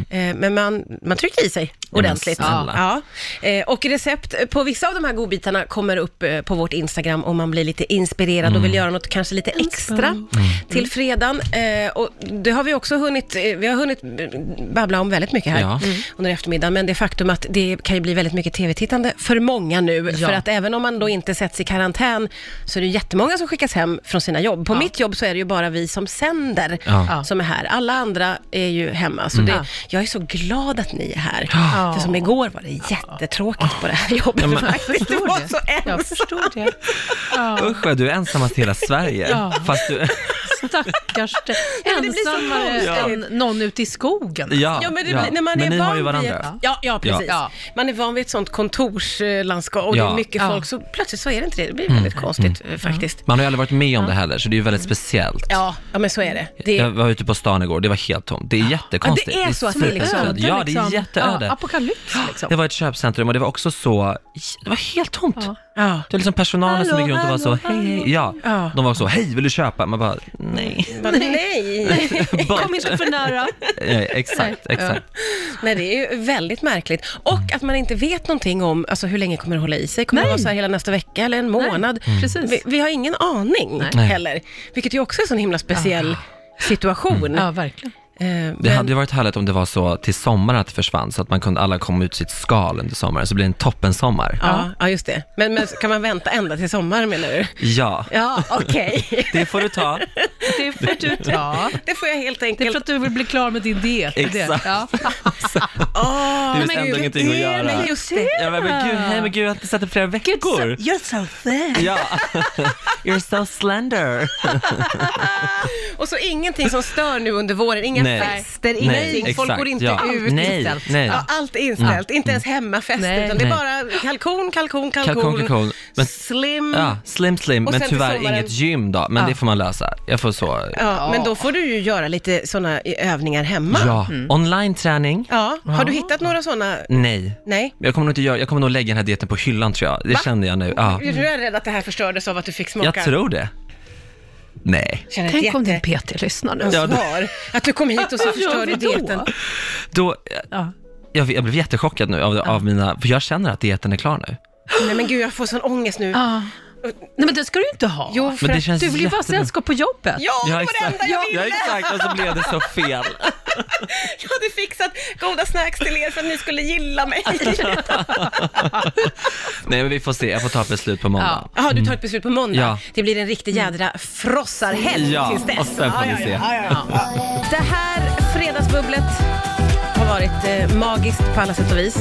[SPEAKER 1] Eh, men man, man tryckte i sig ordentligt.
[SPEAKER 3] snälla.
[SPEAKER 1] Ja. Eh, och recept på vissa av de här godbitarna kommer upp eh, på vårt Instagram om man blir lite inspirerad och
[SPEAKER 4] Mm.
[SPEAKER 1] vill göra något kanske lite extra till fredagen. Eh, och det har vi också hunnit, eh, vi har hunnit babbla om väldigt mycket här
[SPEAKER 3] Ja.
[SPEAKER 1] under eftermiddagen, men det faktum att det kan ju bli väldigt mycket tv-tittande för många många nu,
[SPEAKER 4] Ja.
[SPEAKER 1] för att även om man då inte sätts i karantän så är det jättemånga som skickas hem från sina jobb. På mitt jobb så är det ju bara vi som sänder
[SPEAKER 3] Ja. Mm.
[SPEAKER 4] Ja.
[SPEAKER 1] som är här. Alla andra är ju hemma. Så det, jag är så glad att ni är här.
[SPEAKER 4] Ja.
[SPEAKER 1] För som igår var det jättetråkigt på det här jobbet faktiskt. Det var så
[SPEAKER 4] Jag
[SPEAKER 1] ensamt.
[SPEAKER 4] förstår det.
[SPEAKER 1] Ah.
[SPEAKER 3] Usch vad du är ensamma i hela Sverige.
[SPEAKER 4] Ja.
[SPEAKER 3] Fast du...
[SPEAKER 4] Stackars dig.
[SPEAKER 1] men det blir så
[SPEAKER 4] Ensammare än någon ute i skogen.
[SPEAKER 3] ja,
[SPEAKER 1] Ja, men det,
[SPEAKER 3] ja.
[SPEAKER 1] blir- När man
[SPEAKER 3] men
[SPEAKER 1] är
[SPEAKER 3] ni
[SPEAKER 1] van
[SPEAKER 3] har ju
[SPEAKER 1] Vid
[SPEAKER 3] varandra.
[SPEAKER 1] ett, ja, ja, precis.
[SPEAKER 4] Ja.
[SPEAKER 1] Man är van vid ett sånt kontorslandskap och det är
[SPEAKER 3] Ja. Mm.
[SPEAKER 1] mycket
[SPEAKER 4] Ja.
[SPEAKER 1] folk, så plötsligt så är det inte det. Det blir väldigt konstigt eh, faktiskt.
[SPEAKER 3] Man har ju aldrig varit med om det heller, så det är ju väldigt speciellt.
[SPEAKER 1] Ja. ja, men så är det. det
[SPEAKER 3] Jag var ute på stan igår, det var helt tomt. Det är jättekonstigt.
[SPEAKER 1] Ja, det är så att ni
[SPEAKER 3] superöde.
[SPEAKER 1] liksom-
[SPEAKER 4] Öde,
[SPEAKER 3] Ja, det
[SPEAKER 4] liksom.
[SPEAKER 3] är jätteöde.
[SPEAKER 4] Ja, apokalyps liksom.
[SPEAKER 3] Det var ett köpcentrum och det var också så, det var helt tomt.
[SPEAKER 1] ja.
[SPEAKER 3] Det var liksom personalen som gick runt och var så, hej, hej. Ja,
[SPEAKER 1] Ja.
[SPEAKER 3] de var så, hej, vill du köpa? Man bara, nej.
[SPEAKER 1] Bara, nej.
[SPEAKER 3] Bort.
[SPEAKER 4] Kom inte för nära.
[SPEAKER 3] Nej, "Eh, exakt, exakt.
[SPEAKER 1] [LAUGHS] Nej, det är ju väldigt märkligt. Och att man inte vet någonting om alltså, hur länge kommer det hålla i sig. Kommer det
[SPEAKER 4] Nej.
[SPEAKER 1] vara så här hela nästa vecka eller en månad?
[SPEAKER 4] precis.
[SPEAKER 1] Vi, vi har ingen aning
[SPEAKER 4] Nej.
[SPEAKER 1] heller, vilket ju också är en sån himla speciell situation.
[SPEAKER 4] Mm. Ja, verkligen.
[SPEAKER 1] Eh,
[SPEAKER 3] Det
[SPEAKER 1] men-
[SPEAKER 3] hade ju varit härligt om det var så till sommaren att det försvann, så att man kunde alla komma ut sitt skal under sommaren, så blir det en toppen sommar.
[SPEAKER 1] ja, ja, just det. Men, men kan man vänta ända till sommar menar du?
[SPEAKER 3] Ja,
[SPEAKER 1] Ja, okej.
[SPEAKER 3] det får du ta.
[SPEAKER 4] Det får du ta.
[SPEAKER 1] Det får jag helt
[SPEAKER 4] Det är
[SPEAKER 1] enkelt...
[SPEAKER 4] för att du vill bli klar med din diet. det är det.
[SPEAKER 3] Exakt.
[SPEAKER 4] Ja.
[SPEAKER 1] [LAUGHS] Åh,
[SPEAKER 3] Det finns
[SPEAKER 1] men
[SPEAKER 3] ändå
[SPEAKER 1] gud,
[SPEAKER 3] ingenting att
[SPEAKER 1] det är-
[SPEAKER 3] göra.
[SPEAKER 1] Men just det.
[SPEAKER 3] Ja, men, men gud, hej, men gud, jag har inte sett det på flera veckor.
[SPEAKER 7] You're so thin.
[SPEAKER 1] [LAUGHS]
[SPEAKER 3] Ja, you're so slender.
[SPEAKER 1] Och så ingenting som stör nu under våren, inga
[SPEAKER 3] Nej.
[SPEAKER 1] fester,
[SPEAKER 3] Nej,
[SPEAKER 1] ingenting, folk
[SPEAKER 3] exakt,
[SPEAKER 1] går inte
[SPEAKER 3] ja.
[SPEAKER 1] ut.
[SPEAKER 3] Nej,
[SPEAKER 1] Allt
[SPEAKER 3] nej.
[SPEAKER 1] Ja, allt är inställt, inte ens hemmafester,
[SPEAKER 4] Nej.
[SPEAKER 1] utan det är
[SPEAKER 3] Mm. Nej.
[SPEAKER 1] bara kalkon, kalkon, kalkon,
[SPEAKER 3] Kalkon, kalkon. Men-
[SPEAKER 1] slim.
[SPEAKER 3] Ja,
[SPEAKER 1] Ja.
[SPEAKER 3] slim slim,
[SPEAKER 1] Mm. Och
[SPEAKER 3] men
[SPEAKER 1] sen till
[SPEAKER 3] tyvärr
[SPEAKER 1] sommaren-
[SPEAKER 3] inget gym då. Men det får man lösa. Jag får så...
[SPEAKER 1] men då får du ju göra lite sådana övningar hemma.
[SPEAKER 3] Ja, online träning?
[SPEAKER 1] Mm. Ja, har du hittat några sådana?
[SPEAKER 3] Nej.
[SPEAKER 1] Nej.
[SPEAKER 3] Jag kommer nog inte göra, jag kommer nog lägga den här dieten på hyllan tror jag. Det känner jag nu. Ja.
[SPEAKER 1] Du är rädd att det här förstördes av att du fick smaka?
[SPEAKER 3] Jag tror det. Nej.
[SPEAKER 1] Känner ett
[SPEAKER 4] Tänk om din
[SPEAKER 1] jätte-
[SPEAKER 4] PT lyssnar nu.
[SPEAKER 3] Ja, då-
[SPEAKER 1] Svar. Att du kom hit och
[SPEAKER 4] [LAUGHS]
[SPEAKER 1] så
[SPEAKER 4] Vad gör
[SPEAKER 1] förstörde
[SPEAKER 4] vi då?
[SPEAKER 1] dieten.
[SPEAKER 3] Då,
[SPEAKER 4] Ja.
[SPEAKER 3] jag, jag blev jättechockad nu av, av mina, för jag känner att dieten är klar nu.
[SPEAKER 1] Nej men gud, jag får sån ångest nu.
[SPEAKER 4] Ja. Nej, men det ska du inte ha.
[SPEAKER 1] Jo, för
[SPEAKER 3] Men det
[SPEAKER 1] att...
[SPEAKER 3] känns
[SPEAKER 4] du vill ju bara ha
[SPEAKER 3] jättebra.
[SPEAKER 4] sällskap på jobbet.
[SPEAKER 1] Ja, det var det enda jag
[SPEAKER 3] Ja,
[SPEAKER 1] ville!
[SPEAKER 3] exakt. Och så blev det så
[SPEAKER 1] [LAUGHS]
[SPEAKER 3] fel.
[SPEAKER 1] Jag hade fixat goda snacks till er för att ni skulle gilla
[SPEAKER 3] [LAUGHS]
[SPEAKER 1] mig. [LAUGHS]
[SPEAKER 3] Nej, men vi får se. Jag får ta ett beslut på måndag.
[SPEAKER 1] Jaha, du tar ett beslut på måndag.
[SPEAKER 3] Mm. Ja.
[SPEAKER 1] Det blir en riktig jädra frossarhelg
[SPEAKER 3] Ja,
[SPEAKER 1] tills dess.
[SPEAKER 3] och sen får
[SPEAKER 1] Ja,
[SPEAKER 3] vi
[SPEAKER 1] ja,
[SPEAKER 3] se.
[SPEAKER 1] ja, ja, ja. Det här fredagsbubblet har varit eh, magiskt på alla sätt och vis.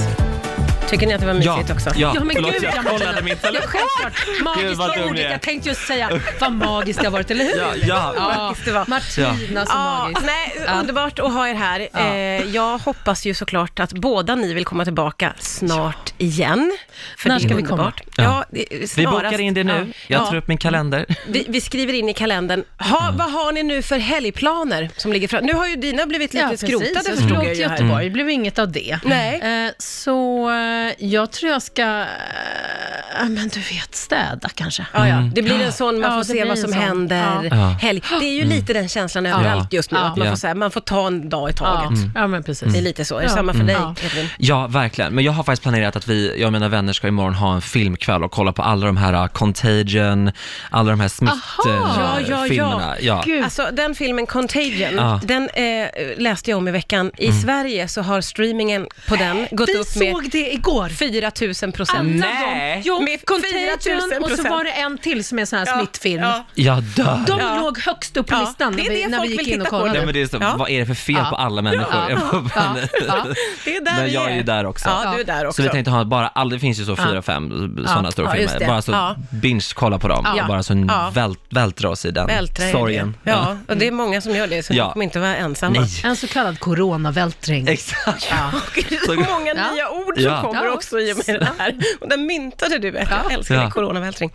[SPEAKER 1] Tycker ni att det var mysigt också?
[SPEAKER 3] ja.
[SPEAKER 4] Ja, men
[SPEAKER 3] Förlåt,
[SPEAKER 4] gud,
[SPEAKER 3] jag
[SPEAKER 4] Amanda.
[SPEAKER 3] kollade min
[SPEAKER 4] Ja,
[SPEAKER 3] telefon.
[SPEAKER 4] självklart.
[SPEAKER 3] Gud,
[SPEAKER 4] Magiskt
[SPEAKER 3] vad
[SPEAKER 4] var
[SPEAKER 3] dum
[SPEAKER 4] ordet.
[SPEAKER 3] jag är.
[SPEAKER 4] Jag tänkte just säga, vad magiskt det har varit, eller hur?
[SPEAKER 3] Ja, ja.
[SPEAKER 1] magiskt det var.
[SPEAKER 4] Martina så
[SPEAKER 1] Ja,
[SPEAKER 4] magiskt.
[SPEAKER 1] nej,
[SPEAKER 4] Ja.
[SPEAKER 1] underbart att ha er här. Eh, jag hoppas ju såklart att båda ni vill komma tillbaka snart igen. För
[SPEAKER 4] När
[SPEAKER 1] det är
[SPEAKER 4] ska vi
[SPEAKER 1] underbart.
[SPEAKER 3] komma?
[SPEAKER 1] Ja. eh,
[SPEAKER 3] Vi
[SPEAKER 1] snarast.
[SPEAKER 3] bokar in det nu.
[SPEAKER 1] Ja.
[SPEAKER 3] Jag Mm. tar upp min kalender.
[SPEAKER 1] Vi, vi skriver in i kalendern. Ha, Vad har ni nu för helgplaner som ligger fram? Nu har ju dina blivit lite
[SPEAKER 4] Ja, precis.
[SPEAKER 1] skrotade
[SPEAKER 4] Jag
[SPEAKER 1] förstod
[SPEAKER 4] skulle
[SPEAKER 1] jag
[SPEAKER 4] åka
[SPEAKER 1] ju
[SPEAKER 4] till
[SPEAKER 1] här.
[SPEAKER 4] Göteborg, det blev inget av det.
[SPEAKER 1] Nej.
[SPEAKER 4] Eh, Så eh, jag tror jag ska, eh, men du vet, städa kanske. Mm.
[SPEAKER 1] Ja, ja. Det blir en sån, man
[SPEAKER 4] Ja,
[SPEAKER 1] får
[SPEAKER 4] det
[SPEAKER 1] se
[SPEAKER 4] blir
[SPEAKER 1] vad
[SPEAKER 4] en
[SPEAKER 1] som
[SPEAKER 4] sån. Mm.
[SPEAKER 1] händer
[SPEAKER 3] Mm. Ja.
[SPEAKER 1] helg. Det är ju lite den känslan överallt just nu,
[SPEAKER 4] Ja.
[SPEAKER 1] att man
[SPEAKER 3] Ja.
[SPEAKER 1] får, så här, man får ta en dag i
[SPEAKER 4] Ja,
[SPEAKER 1] taget.
[SPEAKER 3] Mm.
[SPEAKER 4] ja men precis.
[SPEAKER 1] Det är lite så. Är det
[SPEAKER 4] Ja.
[SPEAKER 1] samma för dig,
[SPEAKER 4] Ja.
[SPEAKER 1] Edvin?
[SPEAKER 3] Ja, verkligen. Men jag har faktiskt planerat att vi, jag och mina vänner ska imorgon ha en filmkväll och kolla på alla de här uh, Contagion, alla de här
[SPEAKER 1] Ja, ja, ja.
[SPEAKER 3] smittfilmerna. Ja,
[SPEAKER 4] Gud.
[SPEAKER 1] Alltså den filmen Contagion,
[SPEAKER 3] Ja. Mm.
[SPEAKER 1] den eh, läste jag om i veckan. I Sverige så har streamingen på den gått
[SPEAKER 4] Vi
[SPEAKER 1] upp med
[SPEAKER 4] såg det igår.
[SPEAKER 1] 4 000
[SPEAKER 4] Alla
[SPEAKER 1] procent.
[SPEAKER 3] Nej.
[SPEAKER 4] de, jo,
[SPEAKER 1] Med
[SPEAKER 4] Contagion
[SPEAKER 1] 4000%.
[SPEAKER 4] och så var det en till som är sån här smittfilm.
[SPEAKER 1] Ja.
[SPEAKER 3] Jag dör.
[SPEAKER 4] De
[SPEAKER 1] Ja.
[SPEAKER 4] låg högst upp på
[SPEAKER 1] Ja.
[SPEAKER 4] listan
[SPEAKER 1] Det är
[SPEAKER 4] när vi,
[SPEAKER 1] det
[SPEAKER 4] när vi
[SPEAKER 1] folk
[SPEAKER 4] gick
[SPEAKER 1] vill
[SPEAKER 4] in och
[SPEAKER 1] titta på.
[SPEAKER 3] Nej,
[SPEAKER 4] kollade.
[SPEAKER 3] men det är så,
[SPEAKER 1] Ja.
[SPEAKER 3] vad är det för fel
[SPEAKER 4] Ja.
[SPEAKER 3] på alla människor?
[SPEAKER 4] Ja.
[SPEAKER 3] Jag får
[SPEAKER 4] Ja.
[SPEAKER 3] panik.
[SPEAKER 4] Ja.
[SPEAKER 1] Det är där
[SPEAKER 3] Men
[SPEAKER 1] vi
[SPEAKER 3] jag är ju där också.
[SPEAKER 1] Ja, du är där också.
[SPEAKER 3] Så vi tänkte ha bara, all, det finns ju så fyra, fem sådana stora
[SPEAKER 1] Ja, just
[SPEAKER 3] filmer.
[SPEAKER 1] det.
[SPEAKER 3] Bara så
[SPEAKER 1] Ja.
[SPEAKER 3] binge-kolla på dem
[SPEAKER 1] Ja.
[SPEAKER 3] och bara så
[SPEAKER 1] Ja.
[SPEAKER 3] vält, vältra oss i den
[SPEAKER 1] Vältra er i
[SPEAKER 3] sorgen.
[SPEAKER 1] det. Ja, och det är många som gör det, så
[SPEAKER 3] Ja.
[SPEAKER 1] ni kommer inte vara ensamma.
[SPEAKER 3] Nej, [LAUGHS]
[SPEAKER 4] En så kallad coronavältring.
[SPEAKER 3] exakt.
[SPEAKER 1] Och det är så Alltså, många
[SPEAKER 4] Ja.
[SPEAKER 1] nya ord som
[SPEAKER 3] Ja.
[SPEAKER 1] kommer
[SPEAKER 4] Ja.
[SPEAKER 1] också i och med det här. Och den myntade du ett. Jag älskar
[SPEAKER 3] Ja.
[SPEAKER 1] din coronavältring.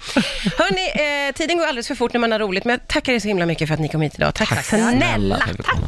[SPEAKER 1] Hörni, eh, tiden går alldeles för fort när man har roligt, men jag tackar er så himla mycket för att ni kom hit idag. Tack, snälla.
[SPEAKER 3] Snälla.